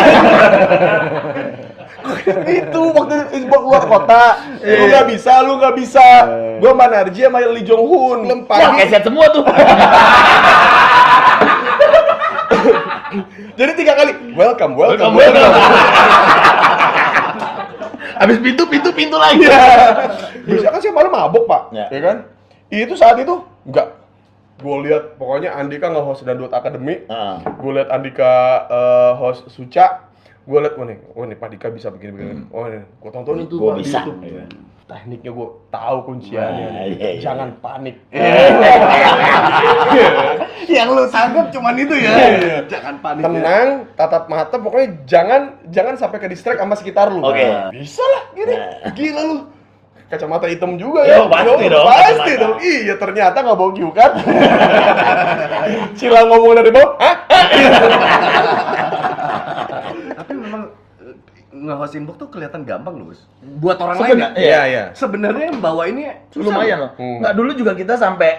itu waktu itu gua keluar kota "Eh, lu nggak bisa lu nggak bisa gua sama Narji sama Lee Jong Hoon Wah, lempar keset semua Iya, tuh. jadi tiga kali welcome welcome, Welcome, welcome. Habis pintu pintu pintu lagi. Iya. Bisa kan siapa malam mabok pak, Ya. ya kan? Itu saat itu enggak. Gue lihat pokoknya Andika nge-host Dangdut Academy, Heeh. gue lihat Andika eh, host Suca, gue lihat wah nih, wah nih Pak Dika bisa begini begini, Hmm. oh nih, gue tontonin tuh Gua Pak, di bisa. YouTube. Tekniknya gue tahu kunciannya, Nah, iya, iya. jangan panik. yang lu sanggup cuman itu ya Iya, jangan panik ya. Tenang, tatap mata, pokoknya jangan jangan sampai ke distract sama sekitar lu. Oke. Nah, Bisa lah, gini, gila lu. kacamata hitam juga Yo, ya. pasti dong, Pasti kacamata. dong. Iya, ternyata nggak bau kan. Cila ngomong dari bawah, "Hah? Tapi memang eh, nge-host inbox tuh kelihatan gampang loh, Bos. Buat orang Seben- lain. ya. Iya, iya. Sebenarnya yang bawa ini susah. lumayan loh. Hmm. Nggak dulu juga kita sampai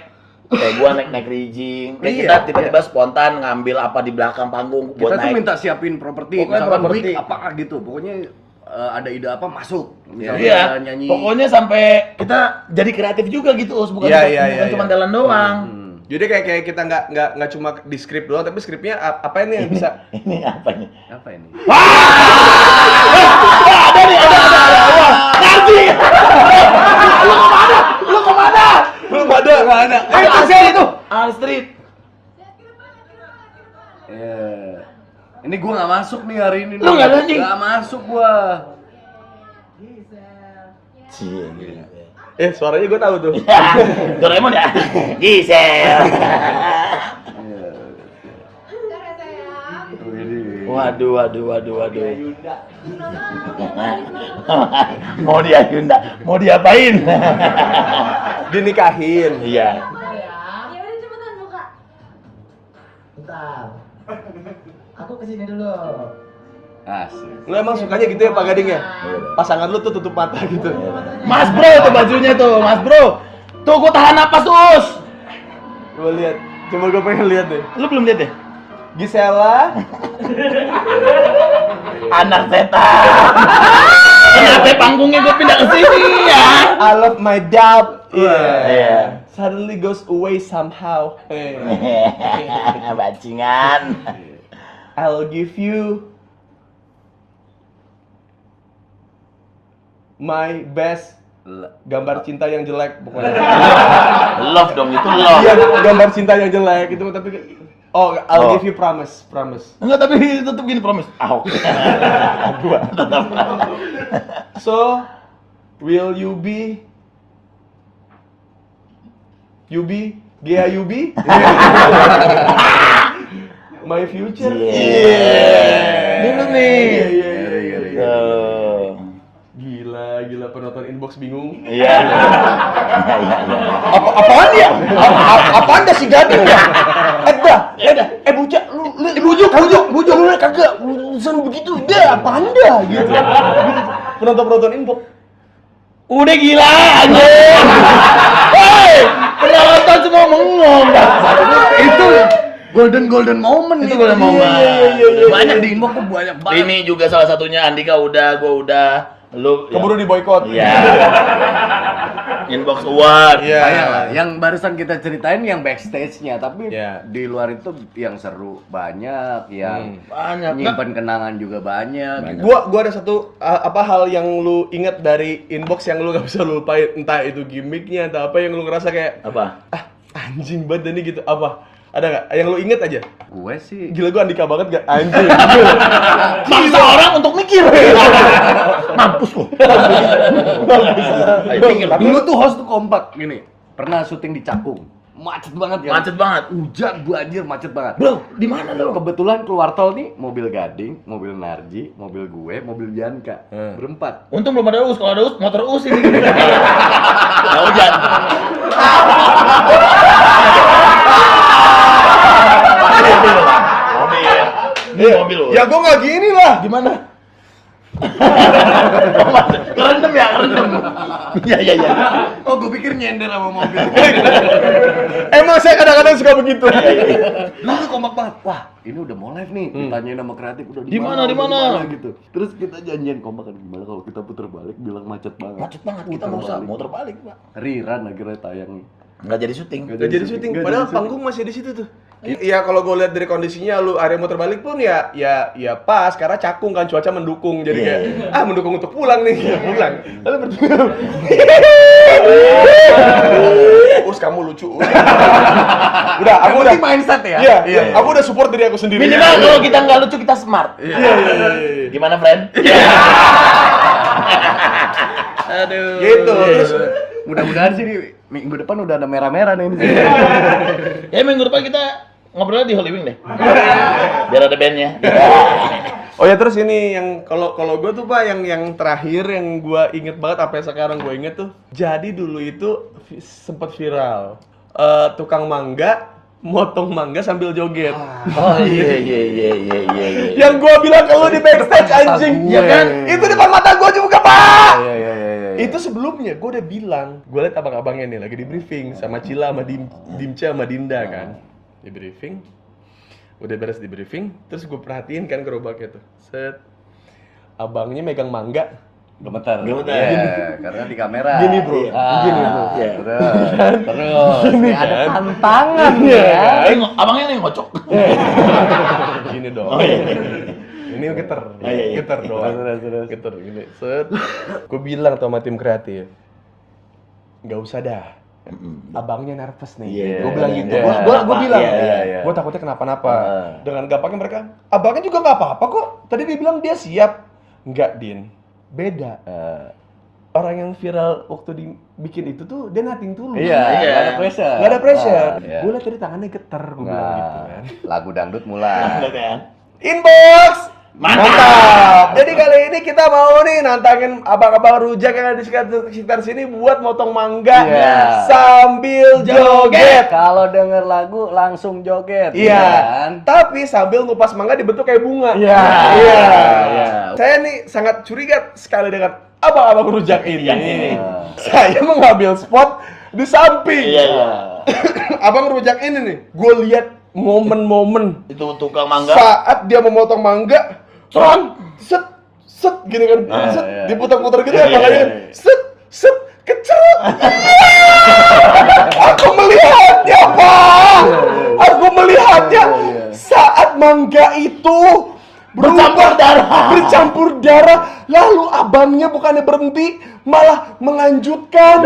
kayak gua naik naik rijing, kayak Iya, kita tiba-tiba spontan ngambil apa di belakang panggung Kita buat tuh naik. minta siapin properti, Pokoknya misalkan properti. wig apa gitu. Pokoknya eh, ada ide apa masuk. Misalnya Iya, ada nyanyi. pokoknya sampai kita jadi kreatif juga gitu, Us. bukan, Iya, bukan- iya, bukan iya, cuma iya. jalan doang. Hmm. Jadi kayak kayak kita nggak nggak nggak cuma di skrip doang, tapi skripnya a- apa ini yang bisa? Ini apa nih? Apa ini? Ada nih, ada, ada, ada. Wah, Narji! Lu kemana? Lu kemana? Belum ada. Belum ada. Eh, itu saya itu. Alstreet. Eh, Ini gua nggak masuk nih hari ini. Lu nggak ada, anjing? Nggak masuk gua. Cie, gila. Eh, suaranya gue tahu tuh. Iya. Doraemon ya? Gisel. Bentar ya sayang. Waduh, waduh, waduh, waduh. mau dia Yunda, mau diapain? Dinikahin. Iya. Ya udah cepetan buka. Bentar. Aku kesini dulu. Asik. Lu emang sukanya gitu ya Pak Gading ya? Pasangan lu tuh tutup mata gitu. Mas Bro tuh bajunya tuh, Mas Bro. Tuh gua tahan napas us. Coba lihat. Coba gue pengen lihat deh. Lu belum lihat deh? Gisela, Anak setan. Kenapa panggungnya gua pindah ke sini ya? I love my job. Iya. Iya. Suddenly goes away somehow. Eh, Bacingan. I'll give you my best L- gambar cinta yang jelek pokoknya. Love dong itu love. Iya, gambar cinta yang jelek itu tapi Oh, I'll Oh. give you promise, promise. Enggak tapi tetep gini promise. Ah, oke. Gua tetep. So, will you be you be Gia you be my future? Yeah. Minum nih. Iya, iya, iya, iya, iya. Tuh. Gila, gila penonton inbox bingung. Eh. Iya. Iya, iya, iya. Apa apaan ya? Apa apaan dah si gading ya? Eh dah, eh dah, eh bucak lu lu bujuk bujuk bujuk lu kagak urusan begitu dah apaan dah gitu. Penonton-penonton inbox. Udah gila anjing. Hei, penonton semua mengong. itu golden golden moment Iya, Itu itu golden moment. banyak di inbox tuh banyak banget Ini juga salah satunya Andika udah, gua udah, lu ya. Keburu di boykot. Iya. Inbox award. Iya. Banyak lah. yang barusan kita ceritain yang backstage-nya tapi Iya. di luar itu yang seru banyak yang Hmm. Banyak. nyimpen kenangan juga banyak, Gua gua ada satu uh, apa hal yang lu inget dari inbox yang lu gak bisa lupain entah itu gimmicknya entah apa yang lu ngerasa kayak Apa? ah anjing banget ini gitu apa ada nggak yang lu inget aja gue sih gila gua Andika banget gak anjing Maksa orang untuk mikir. Iya. Mampus lu. Ayo, Mikir. dulu tuh host tuh kompak gini pernah syuting di Cakung macet banget kan Macet banget. Uh, hujan banjir macet banget Bro, di mana lu? kebetulan keluar tol nih mobil gading mobil narji mobil gue mobil bianca berempat Untung belum ada us, kalau ada us, motor us ini. Nggak hujan. mobil. Ini mobil us. ya gua nggak gini lah gimana? kerendam ya, kerendam. Iya, iya, iya. Oh, gue pikir nyender sama mobil. Iya, emang saya kadang-kadang suka begitu Lalu kompak banget. Wah, ini udah mau live nih. Ditanyain sama kreatif udah di Hmm. Di mana, mana, di udah mana? gitu. Terus kita janjian kompak kan gimana kalau kita puter balik bilang macet banget. Macet banget, kita Puter mau usah balik. motor balik, Pak. Rerun akhirnya tayang. Nggak jadi syuting. Nggak Gak jadi syuting Nggak padahal jadi syuting. panggung masih di situ tuh Iya kalau gue lihat dari kondisinya lu area muter balik pun ya ya ya pas karena cakung kan cuaca mendukung jadi Iya, kayak iya. ah mendukung untuk pulang nih ya, pulang lalu berdua us kamu lucu Us. Ah, udah aku udah mindset ya. iya iya aku udah support diri aku Iya. sendiri Minimal kalau kita nggak lucu, kita smart. iya iya iya, iya. Gimana, friend? gitu iya, terus Mudah-mudahan sih nih, minggu depan udah ada merah-merah nih. Iya, Ya minggu depan kita ngobrolnya di Holy Wing deh. Biar ada bandnya. Oh ya terus ini yang kalau kalau gue tuh pak yang yang terakhir yang gue inget banget apa yang sekarang gue inget tuh. Jadi dulu itu vi- sempet viral Eh, tukang mangga motong mangga sambil joget. Oh Ah, iya iya iya iya iya. iya. Yang gue bilang ke lu di backstage anjing, ya kan? Itu depan mata gue juga pak. Iya. Itu sebelumnya gue udah bilang, gue liat abang-abangnya nih lagi di briefing sama Cila, sama Dim, Dimca, sama Nah. Dinda kan, di briefing. Udah beres di briefing, terus gue perhatiin kan gerobaknya tuh, set. Abangnya megang mangga, Gemeter. Gemeter. Iya, karena di kamera. Gini, bro. Gini, bro. Iya. Ah, Terus, terus. Ini ada kan? Tantangan Iya, ya. kan? Eh, ngo- Abangnya nih ngocok. Gini dong. Ini geter, Oh, iya, iya. geter doang. Geter gini, set. Gue bilang tuh sama tim kreatif, nggak usah dah. Abangnya nervous nih. Iya. Gue bilang gitu. Iya. Gue gue gue bilang. Iya, iya, iya. Gue takutnya kenapa-napa. Ah. Dengan gampangnya mereka, abangnya juga nggak apa-apa kok. Tadi dia bilang dia siap. Nggak, Din. Beda. Eh. Orang yang viral waktu dibikin itu tuh dia nating tulus. Iya, nggak ada pressure. Nggak ada pressure. Ah, iya. Gue liat tadi tangannya geter, gue bilang gitu Nah, kan. lagu dangdut mulai. Inbox! Mantap. Jadi kali ini kita mau nih nantangin abang-abang rujak yang ada di sekitar, sekitar sini buat motong mangga Iya. sambil joget. Kalau denger lagu langsung joget. Iya. kan? Tapi sambil ngupas mangga dibentuk kayak bunga. Iya. Iya. Iya. Saya nih sangat curiga sekali dengan abang-abang rujak ini. Iya. Saya mengambil spot di samping. Iya, iya. abang rujak ini nih, gue lihat momen-momen Itu tukang mangga. saat dia memotong mangga, terang, set, set, gini kan, set, iya. diputar-putar gitu Ah, Iya, ya, makanya iya, kan, set, set, kecerut, Iya. aku melihatnya, Iya, Pak, aku melihatnya saat mangga itu berubah, Bercampur darah. bercampur darah, lalu abangnya bukannya berhenti, malah melanjutkan,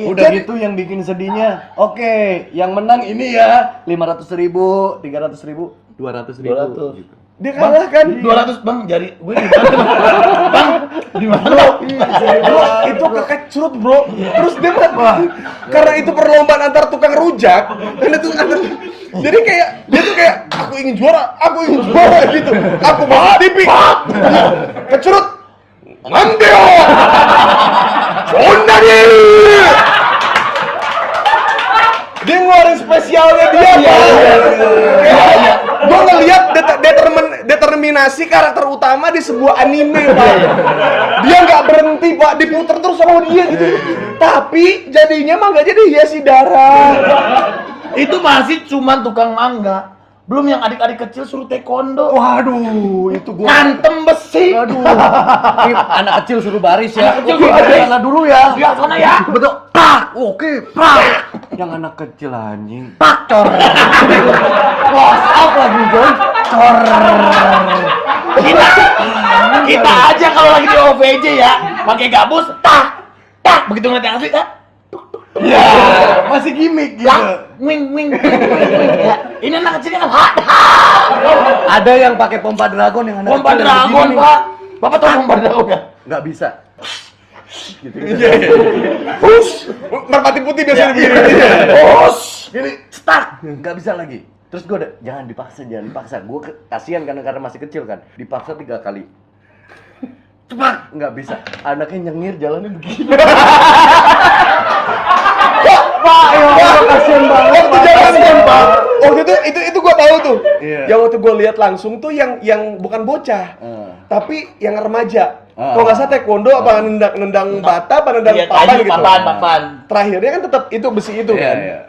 Udah Jadi- gitu yang bikin sedihnya, oke, yang menang ini ya, 500 ribu, 300 ribu, 200 ribu. 200. Iya. Gitu. dia kalah kan, 200 bang jari gue di mana? bang di mana? Iya. Bro, itu kekecut bro terus dia bilang, karena itu perlombaan antar tukang rujak dan itu antar- jadi kayak dia tuh kayak aku ingin juara aku ingin juara gitu aku mahal tipi kecerut mandeo Sondari dia ngeluarin spesialnya dia iya. pak gue ngeliat det- determin- determinasi karakter utama di sebuah anime pak dia nggak berhenti pak diputer terus sama dia gitu tapi jadinya mah nggak jadi ya, hiasi darah Itu masih cuman tukang mangga. Belum yang adik-adik kecil suruh taekwondo. Waduh, itu gua Ngantem besi. Aduh, ini anak kecil suruh baris ya. Anak kecil Oke, suruh baris. sana dulu ya. Ya, sana ya. Betul. Pak, oke, pak. Yang anak kecil anjing. Pak, cor. WhatsApp lagi, John. Cor. kita kita aja kalau lagi di OVJ ya pakai gabus tak tak begitu ngeliat yang asli tak Ya, masih gimmick gitu. tak wing wing wing wing, wing. Ya, ini anak kecilnya kan ha ha Ada yang pakai pompa dragon yang anak pompa kecil yang dragon begini. pak bapak tahu pompa dragon ya Nggak bisa. Hush! merpati putih biasanya begini Gini, stuck. Nggak bisa lagi. Terus gue udah, jangan dipaksa, jangan dipaksa. Gue ke- kasihan karena karena masih kecil kan. Dipaksa tiga kali. Cepat, nggak bisa. Anaknya nyengir jalannya begini. Wah, Waktu zaman Pak. Waktu itu itu itu gua tahu tuh. Iya. Yang waktu gua lihat langsung tuh yang yang bukan bocah, Eh. tapi yang remaja. Ah. Kalau nggak salah taekwondo apa nendang nendang bata apa nendang Iya, papan tadi gitu. papan papan Terakhirnya kan tetap itu besi itu Iya, kan. iya.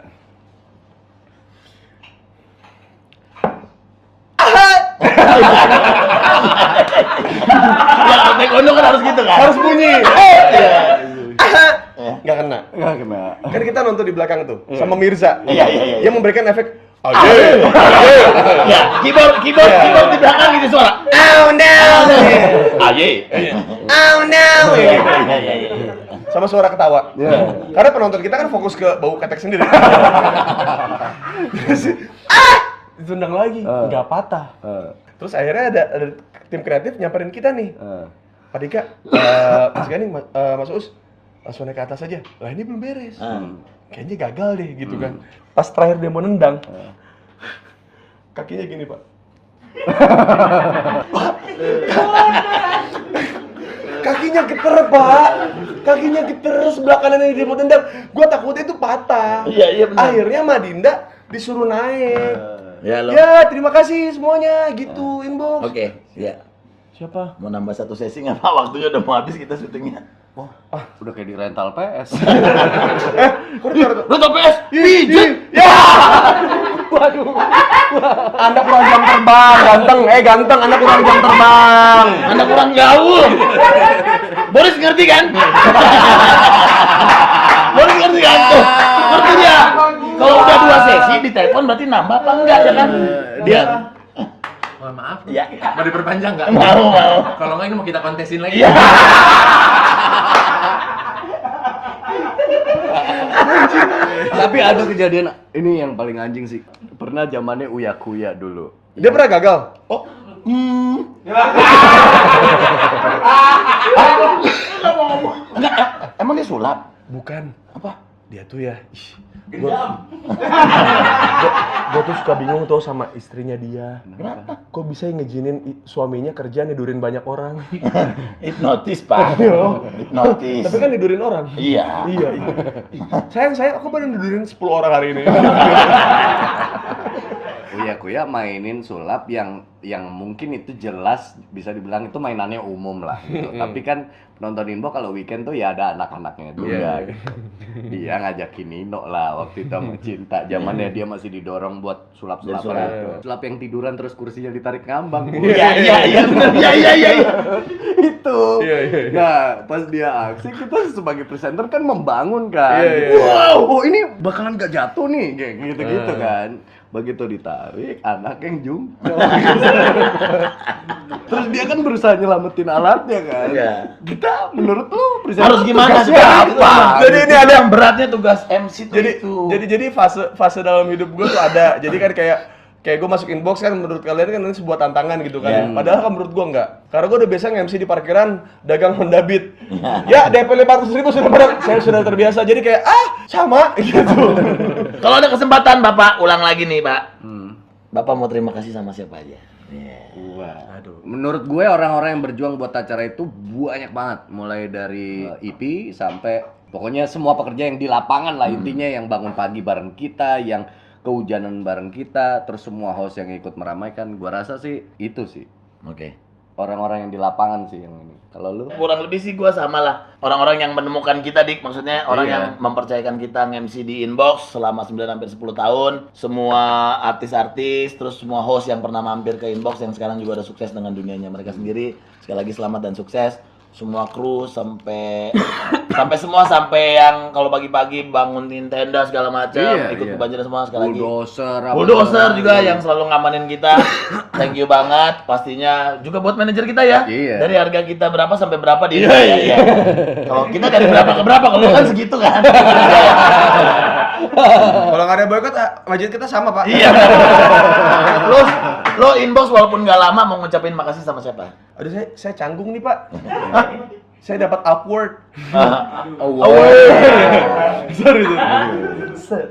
ya kalau taekwondo kan harus gitu kan Iya. Harus bunyi. Eh. Nggak kena. Nggak ya. gimana. Kan kita nonton di belakang tuh sama Mirza. Iya, iya, iya. Yang memberikan efek Aye. ya keyboard keyboard Iya. keyboard di belakang gitu suara Ah, iya, Oh no. aye Iya, Oh no. Ya, ya, ya. sama suara ketawa. Karena penonton kita kan fokus ke bau ketek sendiri. Terus, ah! Ditendang lagi, Eh. Ah. nggak patah. Terus akhirnya ada, ada tim kreatif nyamperin kita nih. Pak Dika, eh, Mas Gani, Ma- eh, Mas Us, langsung naik ke atas aja. Lah ini belum Ah. beres. iya. Kayaknya gagal deh gitu kan. Pas terakhir dia mau nendang, kakinya gini pak. Pak, Kakinya geter, Pak. Kakinya geter sebelah kanannya di dendam. Gua takutnya itu patah. Iya, iya, benar. Akhirnya Madinda disuruh naik. Ya lo. Ya, terima kasih semuanya gitu inbox. Oke, ya. Siapa? Mau nambah satu sesi nggak Pak? Waktunya udah mau habis kita syutingnya. Udah kayak di rental PS. Lu tau PS? Pijet! Anda kurang jam terbang, ganteng. Eh, ganteng, Anda kurang jam terbang. Anda kurang gaul. Boris ngerti kan? Boris ngerti kan? Tuh, ngerti dia. Kalau udah dua sesi di telepon berarti nambah apa enggak ya kan? Dia Mohon maaf. Ya. Mau diperpanjang nggak? mau mau. Kalau nggak ini mau kita kontesin lagi. Iya. Tapi ada kejadian ini yang paling anjing sih. Pernah zamannya Uya Kuya dulu. Dia pernah gagal. Oh, hmm. Enggak, eh, emang dia sulap? Bukan. Apa? Dia tuh ya. ih, Gua, gua tuh suka bingung tuh sama istrinya dia. Kenapa? Kok bisa yang ngizinin i- suaminya kerja nidurin banyak orang? Iya. Hipnotis, Pak. Hipnotis. Tapi kan nidurin orang. Iya. Iya, iya. Sayang, sayang, aku baru nidurin 10 orang hari ini. Uya Kuya mainin sulap yang yang mungkin itu jelas bisa dibilang itu mainannya umum lah. gitu. Tapi kan penonton Inbo kalau weekend tuh ya ada anak-anaknya juga. Iya, gitu. Dia ngajakin Nino lah waktu itu sama cinta. Zamannya dia masih didorong buat sulap-sulap Iya. Sulap. itu. Sulap yang tiduran terus kursinya ditarik ngambang. Bu. Iya, iya, iya, bener. iya, iya, iya, iya. itu. Iya, iya, iya. Nah, pas dia aksi kita sebagai presenter kan membangun kan. Iya, iya, Ah. iya. Wow, oh ini bakalan gak jatuh nih, kayak gitu-gitu kan. Begitu ditarik, anak yang jungkel. Terus dia kan berusaha nyelamatin alatnya kan. Iya. Kita menurut lu presenter Harus gimana sih? tugasnya Apa? Jadi ini ada- yang beratnya tugas MC tuh jadi Nah, itu. jadi jadi fase fase dalam hidup gue tuh ada jadi kan kayak kayak gue masuk inbox kan menurut kalian kan ini sebuah tantangan gitu kan padahal kan menurut gue enggak karena gue udah biasa nge-MC di parkiran dagang Honda Beat ya DP 500 ribu sudah pada saya sudah terbiasa jadi kayak ah sama gitu Kalau ada kesempatan Bapak ulang lagi nih, Pak. Hmm. Bapak mau terima kasih sama siapa aja? Iya. Wah, Menurut gue orang-orang yang berjuang buat acara itu banyak banget, mulai dari eh, IP sampai pokoknya semua pekerja yang di lapangan lah intinya yang bangun pagi bareng kita, yang kehujanan bareng kita, terus semua host yang ikut meramaikan. Gue rasa sih itu sih Oke. orang-orang yang di lapangan sih yang ini. Kalau lu Kurang lebih sih gua sama lah. Orang-orang yang menemukan kita, Dik. Maksudnya orang Iya. yang mempercayakan kita nge-MC di inbox selama 9 hampir 10 tahun. Semua artis-artis, terus semua host yang pernah mampir ke inbox yang sekarang juga udah sukses dengan dunianya mereka sendiri. Sekali lagi selamat dan sukses. Semua kru sampai sampai semua sampai yang kalau pagi-pagi bangunin tenda segala macam, Iya, ikut iya. kebanjiran semua sekali lagi. bulldozer, apa- Bulldozer juga yang selalu ngamanin kita. Thank you banget pastinya. Juga buat manajer kita ya. Iya. Dari harga kita berapa sampai berapa dia. Iya, iya. Kalau kita dari berapa ke berapa kalau kan segitu kan. kalau nggak ada boykot wajib kita sama pak Iya. lo lo inbox walaupun nggak lama mau ngucapin makasih sama siapa? aduh saya saya canggung nih pak Hah? saya dapat upward sorry sorry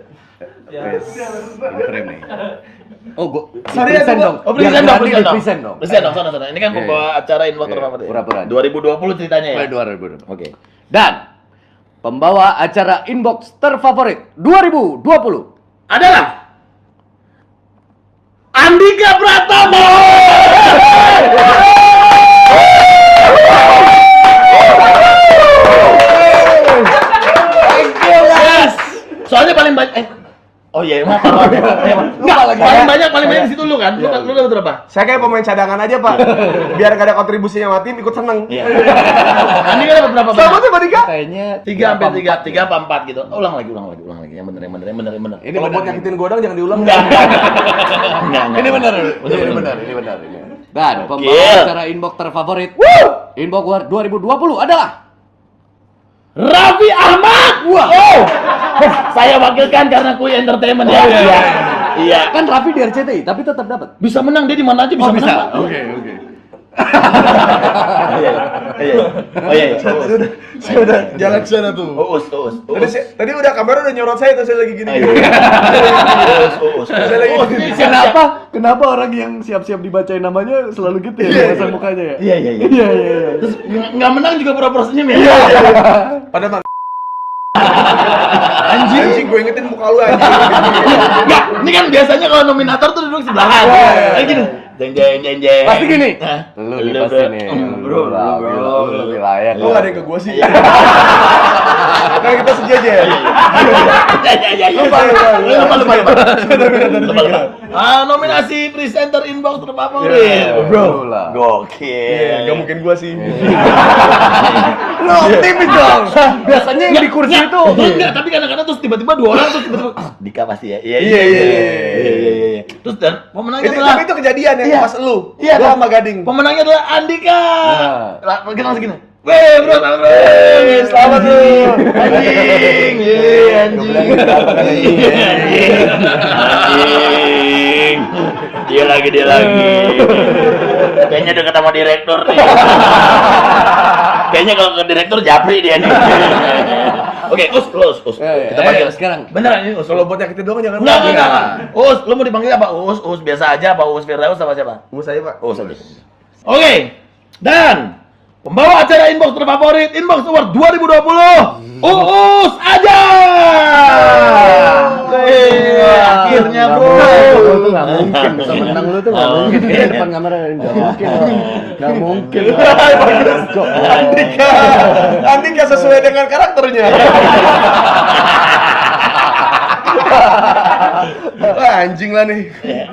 Ini frame nih. Oh, gua Sorry, aku- present dong. Oh, present Yang dong, present berani dong. di-present dong. Present dong, sana sana. Ini kan Iya, pembawa acara inbox Iya, terbaru. pura-pura. 2020 ceritanya ya. Mulai 2020. Oke. Dan pembawa acara inbox terfavorit 2020 Adalah Andika Pratama. Yes. Soalnya paling banyak eh Oh iya, emang apa? ya. paling banyak paling banyak di situ lu kan. Lu lu dapat berapa? saya kayak pemain cadangan aja pak biar gak ada kontribusinya sama tim ikut seneng Iya. Andika kan dapat berapa? sama tuh Pak Dika kayaknya Tiga sampai tiga, tiga apa empat gitu. Oh, ulang lagi, ulang lagi, ulang lagi. Yang bener, yang bener, yang bener, yang bener. Ini kalau benar. buat nyakitin godang jangan diulang Enggak, enggak. Enggak, enggak. Ini benar. Ini benar. Ini benar. Ini. Dan pembawa acara inbox terfavorit Inbox War 2020 adalah Raffi Ahmad. Wah. Saya wakilkan karena kui entertainment ya. Iya. Iya. kan Raffi di RCTI tapi tetap dapat. Oh, Bisa menang dia di mana aja bisa, menang. Pak. Oke, oke. Oh iya, iya. Oh iya, Oh, iya. Uus. Saya udah jalan ke sana tuh. Uus, uus, Tadi, uus. saya- tadi udah kamera udah nyorot saya tuh saya lagi gini. Oh, iya. Oh, Uus, uus, Saya uus. lagi gini. Kenapa? Kenapa orang yang siap-siap dibacain namanya selalu gitu ya? Pasang mukanya ya? Iya, iya, iya. Iya, iya, iya. Terus nggak nggak menang juga pura-pura senyum ya? Pada mah. Anjing. Anjing gue ingetin muka lu Iya. anjing. Enggak, ini kan biasanya kalau nominator tuh duduk sebelahan. Kayak gini. Jeng jeng jeng jeng. Pasti gini. Hah? Lu nih pasti nih. um, Hmm, Bro, Lu lah, bro, lu- bro. Lu lebih layak. Lu ada yang ke gue sih. Iya. Kan kita sejajar. Ya, ya, ya, ya. Lupa, lupa, lupa. Lupa, lupa, lupa. Lupa, lupa. Ah, nominasi presenter inbox terfavorit. Ya, Bro. Eh, lu lah. Iya, Gokil. nggak mungkin gue sih. Iya. Lu optimis dong. Biasanya yang di kursi Nggak, itu Enggak, tapi kadang-kadang terus tiba-tiba dua orang terus tiba-tiba "Ah, Dika pasti ya. Iya, Iya, iya, iya, Iya, iya, iya. Terus dan pemenangnya Itu adalah tapi itu kejadian Iya. ya pas lu. Iya, Gua tapi- sama Gading. pemenangnya adalah Andika. Nah. Lah, mungkin langsung gini. Weh, Iya, bro, selamat bro. Eh, selamat lu. Anjing, iya, anjing. Iya, anjing. Anjing. Dia lagi, dia lagi. Kayaknya udah ketemu direktur nih. Kayaknya kalau ke direktur japri dia nih. Oke, us, us, us. Kita panggil Eh, sekarang. Beneran ini us. Kalau buat nyakitin doang jangan. Enggak, enggak, enggak. Us, lu mau dipanggil apa? Us, us biasa aja apa Us Firdaus sama siapa? Gue saya pak. Us aja. Oke. Dan pembawa acara inbox terfavorit Inbox Award 2020 Uus aja. Wih, akhirnya bro. Lu tuh nggak mungkin bisa menang lu Oh, tuh nggak mungkin. iya. Dia depan kamera nggak mungkin. Nggak mungkin. Andika, Andika Iya. sesuai dengan karakternya. Wah, anjing lah nih.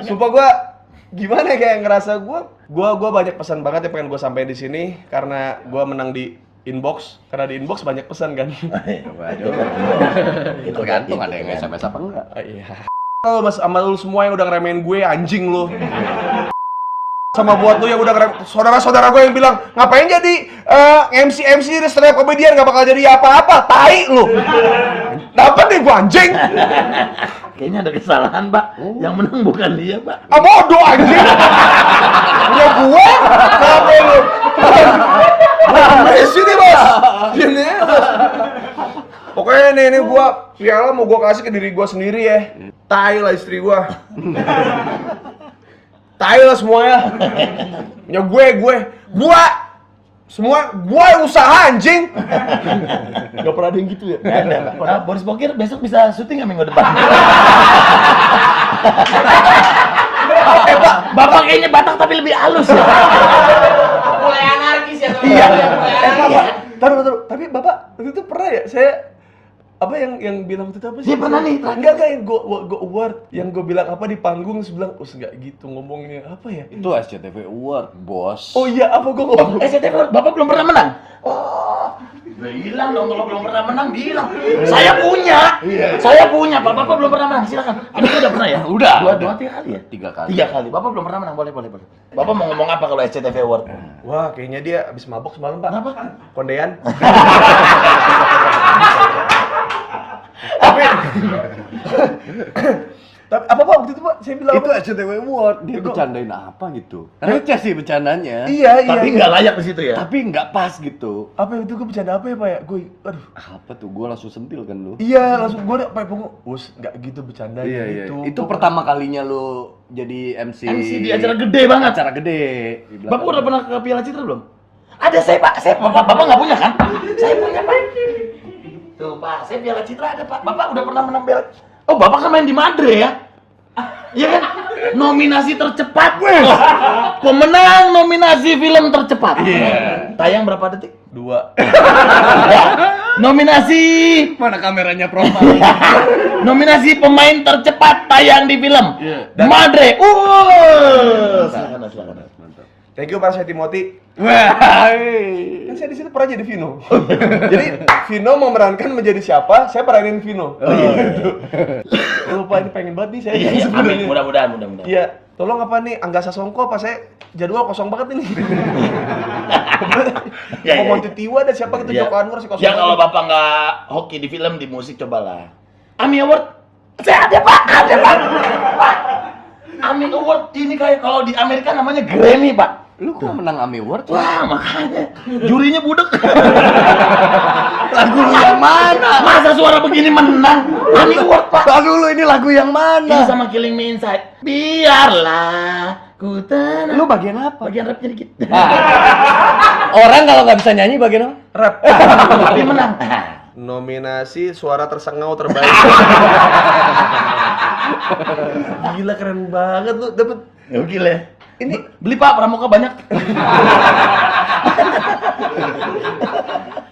Sumpah gua gimana ya, kayak ngerasa gua gua gua banyak pesan banget yang pengen gua sampaikan di sini karena gua menang di inbox karena di inbox banyak pesan kan. kan, Tergantung ada yang SMS apa enggak. Ah, Iya. Lo mas sama lu semua yang udah ngeremehin gue anjing lu. sama buat lu yang udah ngerem saudara-saudara gue yang bilang ngapain jadi eh, MC MC di stand up comedian gak bakal jadi apa-apa tai lu dapat nih gue anjing Kayaknya ada kesalahan, Pak. Oh. Yang menang bukan dia, Pak. ah bodoh anjing punya gue kenapa lu di sini bos sini ya, bos pokoknya nih ini gue piala mau gue kasih ke diri gue sendiri ya tai lah istri gue tai lah semuanya punya gue gue gue semua gue yang usaha anjing gak pernah ada yang gitu ya Nah. Ada, Pak. Ah, Boris Bokir besok bisa syuting nggak minggu depan? eh, Pak, Bapak kayaknya Batak tapi lebih halus ya. Mulai anarkis ya teman Iya. Eh, Bapak, taruh, taruh. Tapi Bapak waktu itu pernah ya saya apa yang yang bilang waktu itu apa sih? Iya, pernah nih, terakhir. Enggak enggak yang gua gua, gua award, yang gua bilang apa di panggung terus bilang, "Us enggak gitu ngomongnya." Apa ya? Itu SCTV Award, bos. Oh iya, apa gua ngomong? SCTV, Eh, Bapak belum pernah menang? Oh, bilang dong kalau belum pernah menang, bilang. Saya punya, saya punya. Pak Bapak belum pernah menang, silakan. Aduh, udah pernah ya? Udah, Dua, udah. dua, tiga kali ya? Tiga kali. Tiga kali. Bapak belum pernah menang, boleh, boleh, boleh. Bapak mau ngomong apa kalau SCTV Award? Wah, kayaknya dia habis mabok semalam, Pak. Kenapa? Kondean. tapi tapi apa Pak waktu itu Pak? Saya bilang Itu apa? SCTV Award, dia bercandain apa gitu. Receh sih bercandanya. Iya, iya. Tapi iya. nggak layak di situ ya? Tapi nggak pas gitu. Apa itu gua bercanda apa ya, Pak ya? Gua aduh. Apa tuh? Gue langsung sentil kan lu. Iya, langsung gue udah pakai punggung. Us, nggak gitu bercanda Iya, iya. gitu. Itu pertama kalinya lu jadi MC. MC di acara gede banget. acara gede. Di belakang. Bapak udah pernah ke Piala Citra belum? Ada saya pak, saya bapak bapak nggak punya kan? Saya punya pak. Tuh pak, saya Piala Citra ada pak. Bapak udah pernah menang Piala. Oh bapak kan main di Madre ya? Iya kan? Nominasi tercepat. Wes. Pemenang nominasi film tercepat. Tayang berapa detik? Dua. Nominasi mana kameranya profil? nominasi pemain tercepat tayang di film Madre. Uh. Silakan, silakan. Thank you para saya Timothy. Kan saya di sini pernah jadi Vino. jadi Vino memerankan menjadi siapa? Saya peranin Vino. Oh iya. Lupa ini pengen banget nih saya. Iya, iya, amin. sebenarnya. Mudah-mudahan, mudah-mudahan. Iya. Tolong apa nih Angga Sasongko apa saya jadwal kosong banget ini. Iya, iya, Mau iya. Tiwa dan siapa gitu Joko Anwar sih kosong. Ya kalau banget. bapak nggak hoki di film di musik cobalah. Ami Award saya ada pak, ada pak. Pak, Ami Award ini kayak kalau di Amerika namanya Grammy pak. Lu kok menang AMI Award? Wah, makanya jurinya budek. Lagu lu yang mana? Masa suara begini menang? Ani Award, Pak. Lagu lu ini lagu Ini yang mana? sama Killing Me Inside. Biarlah ku tenang. Lu bagian apa? bagian rapnya dikit. Orang kalau nggak bisa nyanyi bagian apa? Tapi menang. Ah. Nominasi suara tersengau terbaik. Gila keren banget lu dapet Ya gila ya. Ini beli Pak pramuka banyak.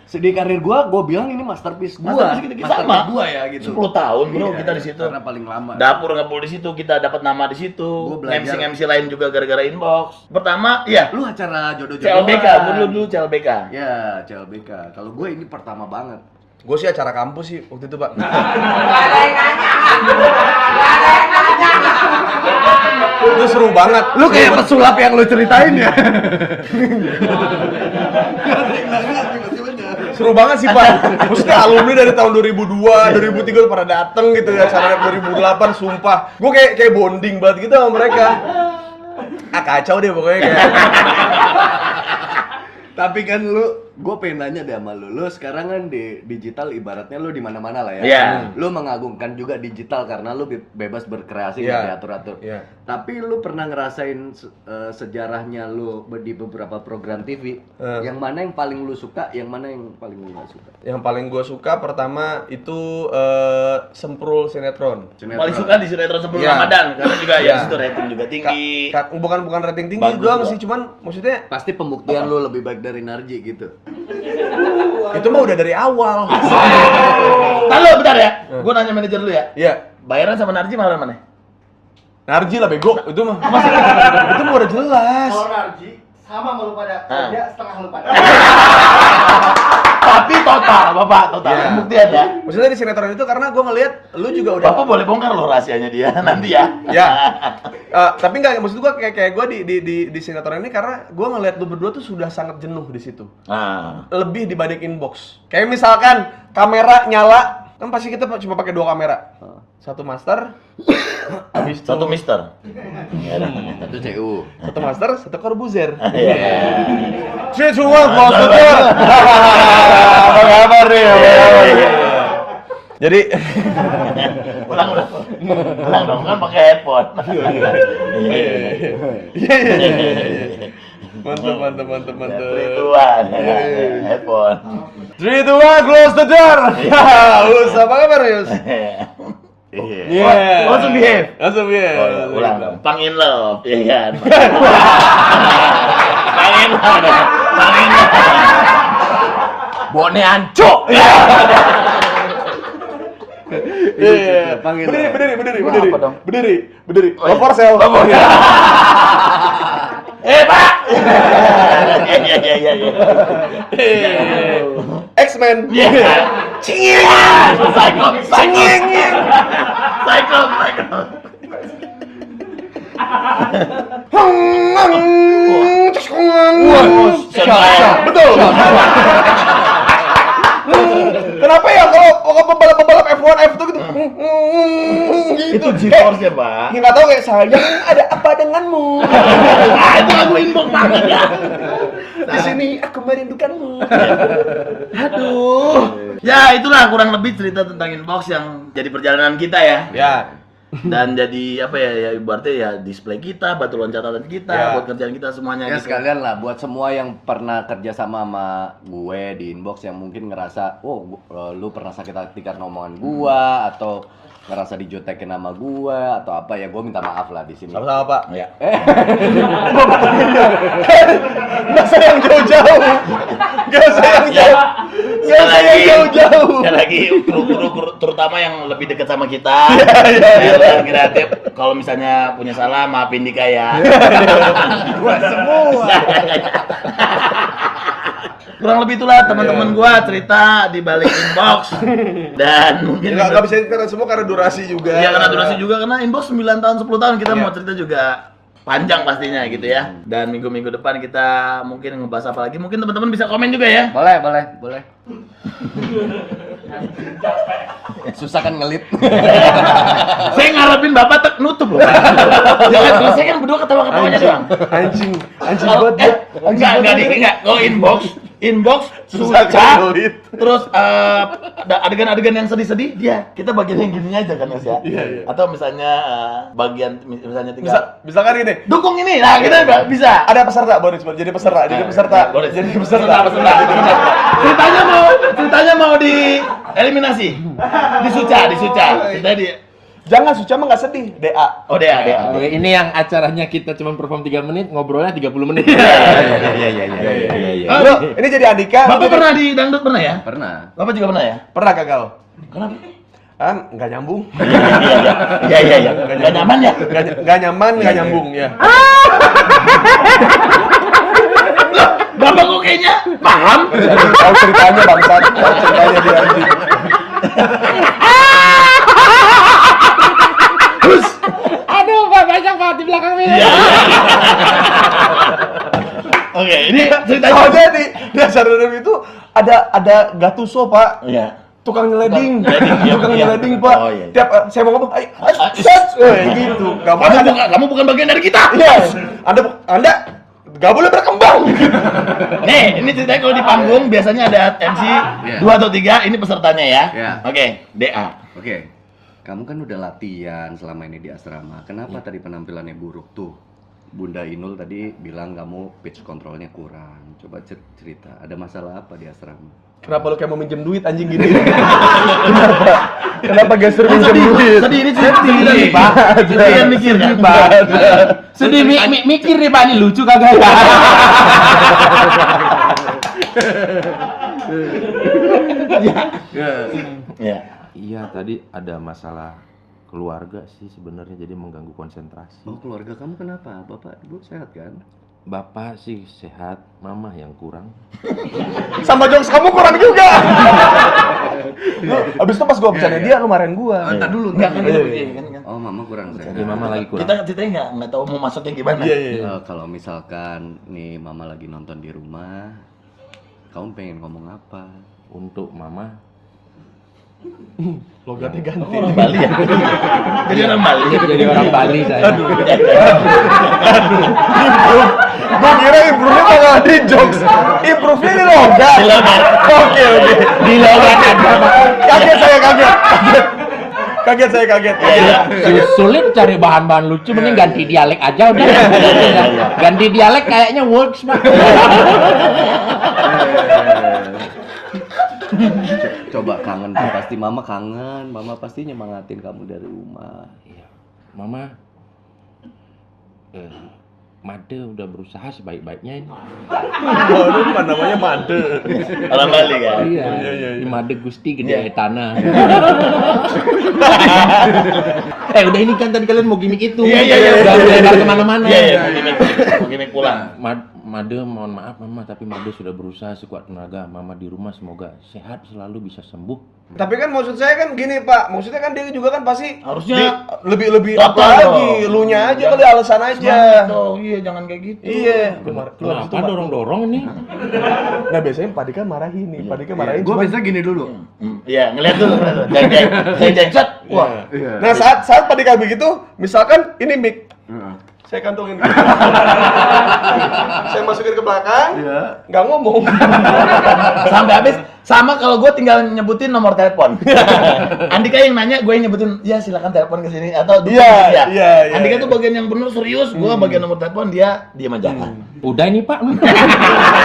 Sedih karir gua, gua bilang ini masterpiece gua. Masterpiece gitu, kita- kita sama. gua ya gitu. 10 tahun bro Iya, kita di situ. Karena paling lama. Dapur ngepul di situ, kita dapat nama di situ. Gua belajar. MC MC lain juga gara-gara inbox. Pertama, iya, Lu acara jodoh-jodohan. CLBK, gua dulu dulu CLBK. Ya, CLBK. Kalau gue ini pertama banget. Gue sih acara kampus sih waktu itu pak. Gak ada yang nanya. Gak ada yang nanya. itu seru banget. Lu kayak pesulap yang lu ceritain ya. Seru banget sih pak. Maksudnya alumni dari tahun 2002, 2003 udah pada dateng gitu ya. Acara rap 2008 sumpah. Gue kayak kayak bonding banget gitu sama mereka. Ah kacau deh pokoknya kayak. Tapi kan lu, gue pengen nanya deh sama lu. Lu sekarang kan di digital ibaratnya lu di mana-mana lah ya. Iya. Lu mengagungkan juga digital karena lu be- bebas berkreasi Iya. nggak diatur-atur. Iya. Tapi lu pernah ngerasain se- eh, sejarahnya lu di beberapa program TV. Eh. Yang mana yang paling lu suka, yang mana yang paling lu gak suka? Yang paling gue suka pertama itu eh, Semprul Sinetron. Iya, Paling suka di sinetron sebelum Iya. Ramadan karena juga Iya. ya di situ rating juga tinggi. Ka- ka- bukan bukan rating tinggi Bagus doang juga. sih, cuman maksudnya Pasti pembuktian lu lebih baik dari Narji gitu. itu mah udah dari awal. Halo, bentar ya. Hmm. Gua nanya manajer dulu ya. Iya. Bayaran sama Narji malah mana? Narji lah bego, itu mah. itu mah udah jelas. Narji sama malu pada Ah. kerja setengah lu pada. Tapi total, Bapak, total. Iya. Pembuktian ya. Maksudnya di sinetron itu karena gue ngelihat lu juga udah Bapak boleh bongkar loh rahasianya dia nanti ya. ya Eh, tapi nggak maksud gue kayak kayak gue di di di di sinetron ini karena gue ngelihat lu berdua tuh sudah sangat jenuh di situ Nah. lebih dibanding inbox kayak misalkan kamera nyala kan pasti kita cuma pakai dua kamera satu master habis itu- Satu mister. Ya Satu CU. satu master satu korbuzer Iya. Cih, cuma korbuzer Apa kabar nih? iya. jadi Ulang dong. Ulang dong kan pakai headphone. Iya, Iya, iya, iya, iya, iya. mantap mantap mantap mantap Rituan. Iya, iya. Headphone. three two one close the door ya Yus apa kabar Yus Iya. Yeah. Langsung behave. Langsung behave. Oh, ulang dong. Pang in love, ya kan? Pang in love, dong. pang in love. Bone ancok. Iya, iya, iya. Panggil. Berdiri, berdiri, berdiri, Gua berdiri. apa dong? Berdiri, berdiri. Oh, iya. Love for sale. Eh pak. Ya ya ya ya. ya. X-Men. Iya. Cingiran. Psycho. Cinging. Psycho. Psycho. oh, Wah, Senang. Betul. Hmm, Kenapa ya kalau kalau pembalap-pembalap F1, F2 gitu? hmm, hmm, Itu Gitu. G-Force ya pak. Enggak tahu kayak sayang ada apa denganmu? Ah, itu lagu inbox banget ya. Di sini aku merindukanmu. Aduh. Ya itulah kurang lebih cerita tentang inbox yang jadi perjalanan kita ya. Ya, dan jadi apa ya ya ibaratnya ya display kita batu loncatan kita Ya. buat kerjaan kita semuanya Nah, Ya gitu. sekalian lah buat semua yang pernah kerja sama sama gue di inbox yang mungkin ngerasa, oh gu- eh, lu pernah sakit hati karena Hmm. omongan gua atau ngerasa dijutekin sama gua atau apa ya gue minta maaf lah di sini. sama-sama Pak. Ya. Gak usah yang jauh-jauh. Gak usah yang jauh. Gak usah yang jauh-jauh. sekali lagi kru-kru kru- terutama yang lebih dekat sama kita yang kreatif kalau misalnya punya salah maafin Dika ya Semua. kurang lebih itulah teman-teman gua cerita di balik inbox dan mungkin Gak, bisa Iya, diceritain semua Iya, karena durasi juga. ya karena durasi juga karena inbox 9 tahun 10 tahun kita Iya. mau cerita juga panjang pastinya gitu Hmm. ya. Dan minggu-minggu depan kita mungkin ngebahas apa lagi. Mungkin teman-teman bisa komen juga ya. Boleh, boleh, boleh. Susah kan ngelit. saya ngarepin bapak tek nutup loh. Jangan kalau saya kan berdua ketawa-ketawanya doang. Anjing, anjing Kalau banget dia. eh, enggak enggak di enggak kalau inbox inbox Susah susah kali. terus eh, ada adegan-adegan yang sedih-sedih dia Iya, kita bagian yang gini aja kan Mas ya Iya, iya. atau misalnya eh, bagian misalnya tinggal Bisa, misalkan gini, dukung ini nah kita udah bisa Nah, ada peserta Boris, jadi peserta, jadi peserta, Boris. jadi Eh, peserta. ceritanya mau ceritanya mau di eliminasi disuca disuca ceritanya di Jangan suca mah nggak sedih, DA. oh dia dia Ini yang acaranya kita cuma perform 3 menit, ngobrolnya 30 menit. Iya, iya, iya, iya, iya, iya. Ah, Bro, ini jadi Andika. bapak pernah di dangdut pernah ya Pernah. bapak juga pernah ya Pernah gagal. kenapa Ah, nggak nyambung. iya iya iya nggak nyaman ya Nggak ny- nggak nyaman, nggak nyambung ya. bapak kok kayaknya paham Tahu ceritanya bangsat, tahu ceritanya dia anjing. Aduh, Pak, banyak banget di belakang ini. Oke, ini ceritanya. Soalnya di dasar dalam itu ada ada Gatuso, Pak. Iya. tukang nyeleding, Tukang nyeleding, iya, tukang iya. nyeleding pak. Oh, iya, iya. Tiap eh, saya mau ngomong, ayo, ayo, Ah, set, eh, gitu. Gak Kamu boleh ada, bukan kamu bukan bagian dari kita. iya, anda, anda gak boleh berkembang. Nih, ini ceritanya kalau di panggung biasanya ada MC dua atau tiga, ini pesertanya ya. Iya. Oke, DA. Oke. Kamu kan udah latihan selama ini di Iya. asrama. Kenapa tadi penampilannya buruk tuh? Bunda Inul tadi bilang kamu pitch controlnya kurang. Coba cer- cerita, ada masalah apa di asrama? Kenapa lu kayak mau minjem duit anjing gini? Kenapa? Kenapa geser minjem duit? Sedih ini cerita kita nih, Pak. Kita yang mikir kan. Sedih mi- mi- mikir nih, Pak, ini lucu kagak ya? Iya. Iya tadi ada masalah keluarga sih sebenarnya jadi mengganggu konsentrasi. Oh, keluarga kamu kenapa? Bapak, Ibu sehat kan? Bapak sih sehat, mama yang kurang. Sama jokes kamu kurang juga. Lu, abis itu pas gua Iya, bercanda dia, lu marahin gua. Oh, Entar dulu, enggak kan Iya, dulu. iya. kan, kan. Oh, mama kurang sehat. Jadi Iya, mama lagi kurang. Kita ceritanya enggak enggak tahu mau masuknya gimana. Iya, iya. Eh, kalau misalkan nih mama lagi nonton di rumah, kamu pengen ngomong apa? Untuk mama Logatnya ganti. Orang Bali ya. Jadi orang Bali. Jadi orang Bali saya. Gua kira improve-nya bakal di jokes. Improve-nya di logat. Oke, oke. Di logat ada. Kaget saya, kaget. Kaget. Kaget saya, kaget. Iya. Sulit cari bahan-bahan lucu, mending ganti dialek aja udah. Ganti dialek kayaknya works, Pak. Coba kangen tuh, pasti mama kangen. Mama pasti nyemangatin kamu dari rumah. mama eh, Made udah berusaha sebaik-baiknya ini. Waduh, apa namanya made. Orang Bali kan. Iya, iya, Made Gusti gede Iya. tanah. eh udah ini kan tadi kalian mau gimmick itu. Iya, iya, iya, Udah iya, iya, melebar kemana-mana. Iya, iya, mau gimmick, mau gimmick pulang. Ma- Made mohon maaf mama tapi Made sudah berusaha sekuat tenaga. Mama di rumah semoga sehat selalu bisa sembuh. Tapi kan maksud saya kan gini Pak, maksudnya kan dia juga kan pasti Harusnya di- lebih lebih apa lagi, Lapar dong. Iya. lu nya aja kali alasan aja. Semangat dong, iya jangan kayak gitu. Iya. Kenapa dorong-dorong nih? Nah biasanya Pak Dika marahin nih, Iya. Pak Dika marahin. Gue cuman- biasa gini dulu. Hmm, Iya, ngeliat tuh, ngeliat tuh. jeng jeng, jeng jeng, set. Iya. Wah, Nah saat saat Pak Dika begitu, misalkan ini mic, Iya. saya kantongin, saya masukin ke belakang, Iya. Iya. nggak ngomong. sampai habis. Sama kalau gue tinggal nyebutin nomor telepon. Andika yang nanya, gue yang nyebutin, ya silakan telepon ke sini atau dukung Iya, dia. iya, iya. Andika tuh bagian yang bener serius, gue Hmm. bagian nomor telepon, dia diam aja. Udah ini Pak.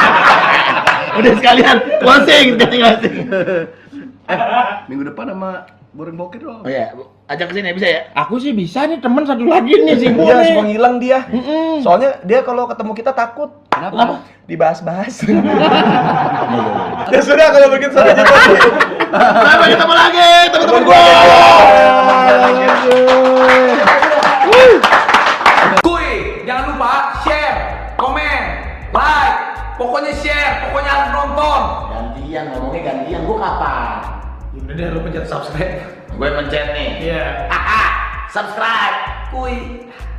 Udah sekalian closing, sekalian closing. Minggu depan sama Boreng Bokir dong. Oh iya, ajak ke sini bisa ya? Aku sih bisa nih temen satu lagi nih sih Iya, suka ngilang dia. Soalnya dia kalau ketemu kita takut. Kenapa? Dibahas-bahas. Iya, ya sudah kalau begitu saja. Sampai ketemu lagi, teman-teman gue. Kuy, jangan lupa share, komen, like, pokoknya share, pokoknya harus nonton. Gantian, ngomongnya gantian, gue kapan? Udah deh, lu pencet subscribe. Gue pencet nih. Iya. Subscribe. Kuy.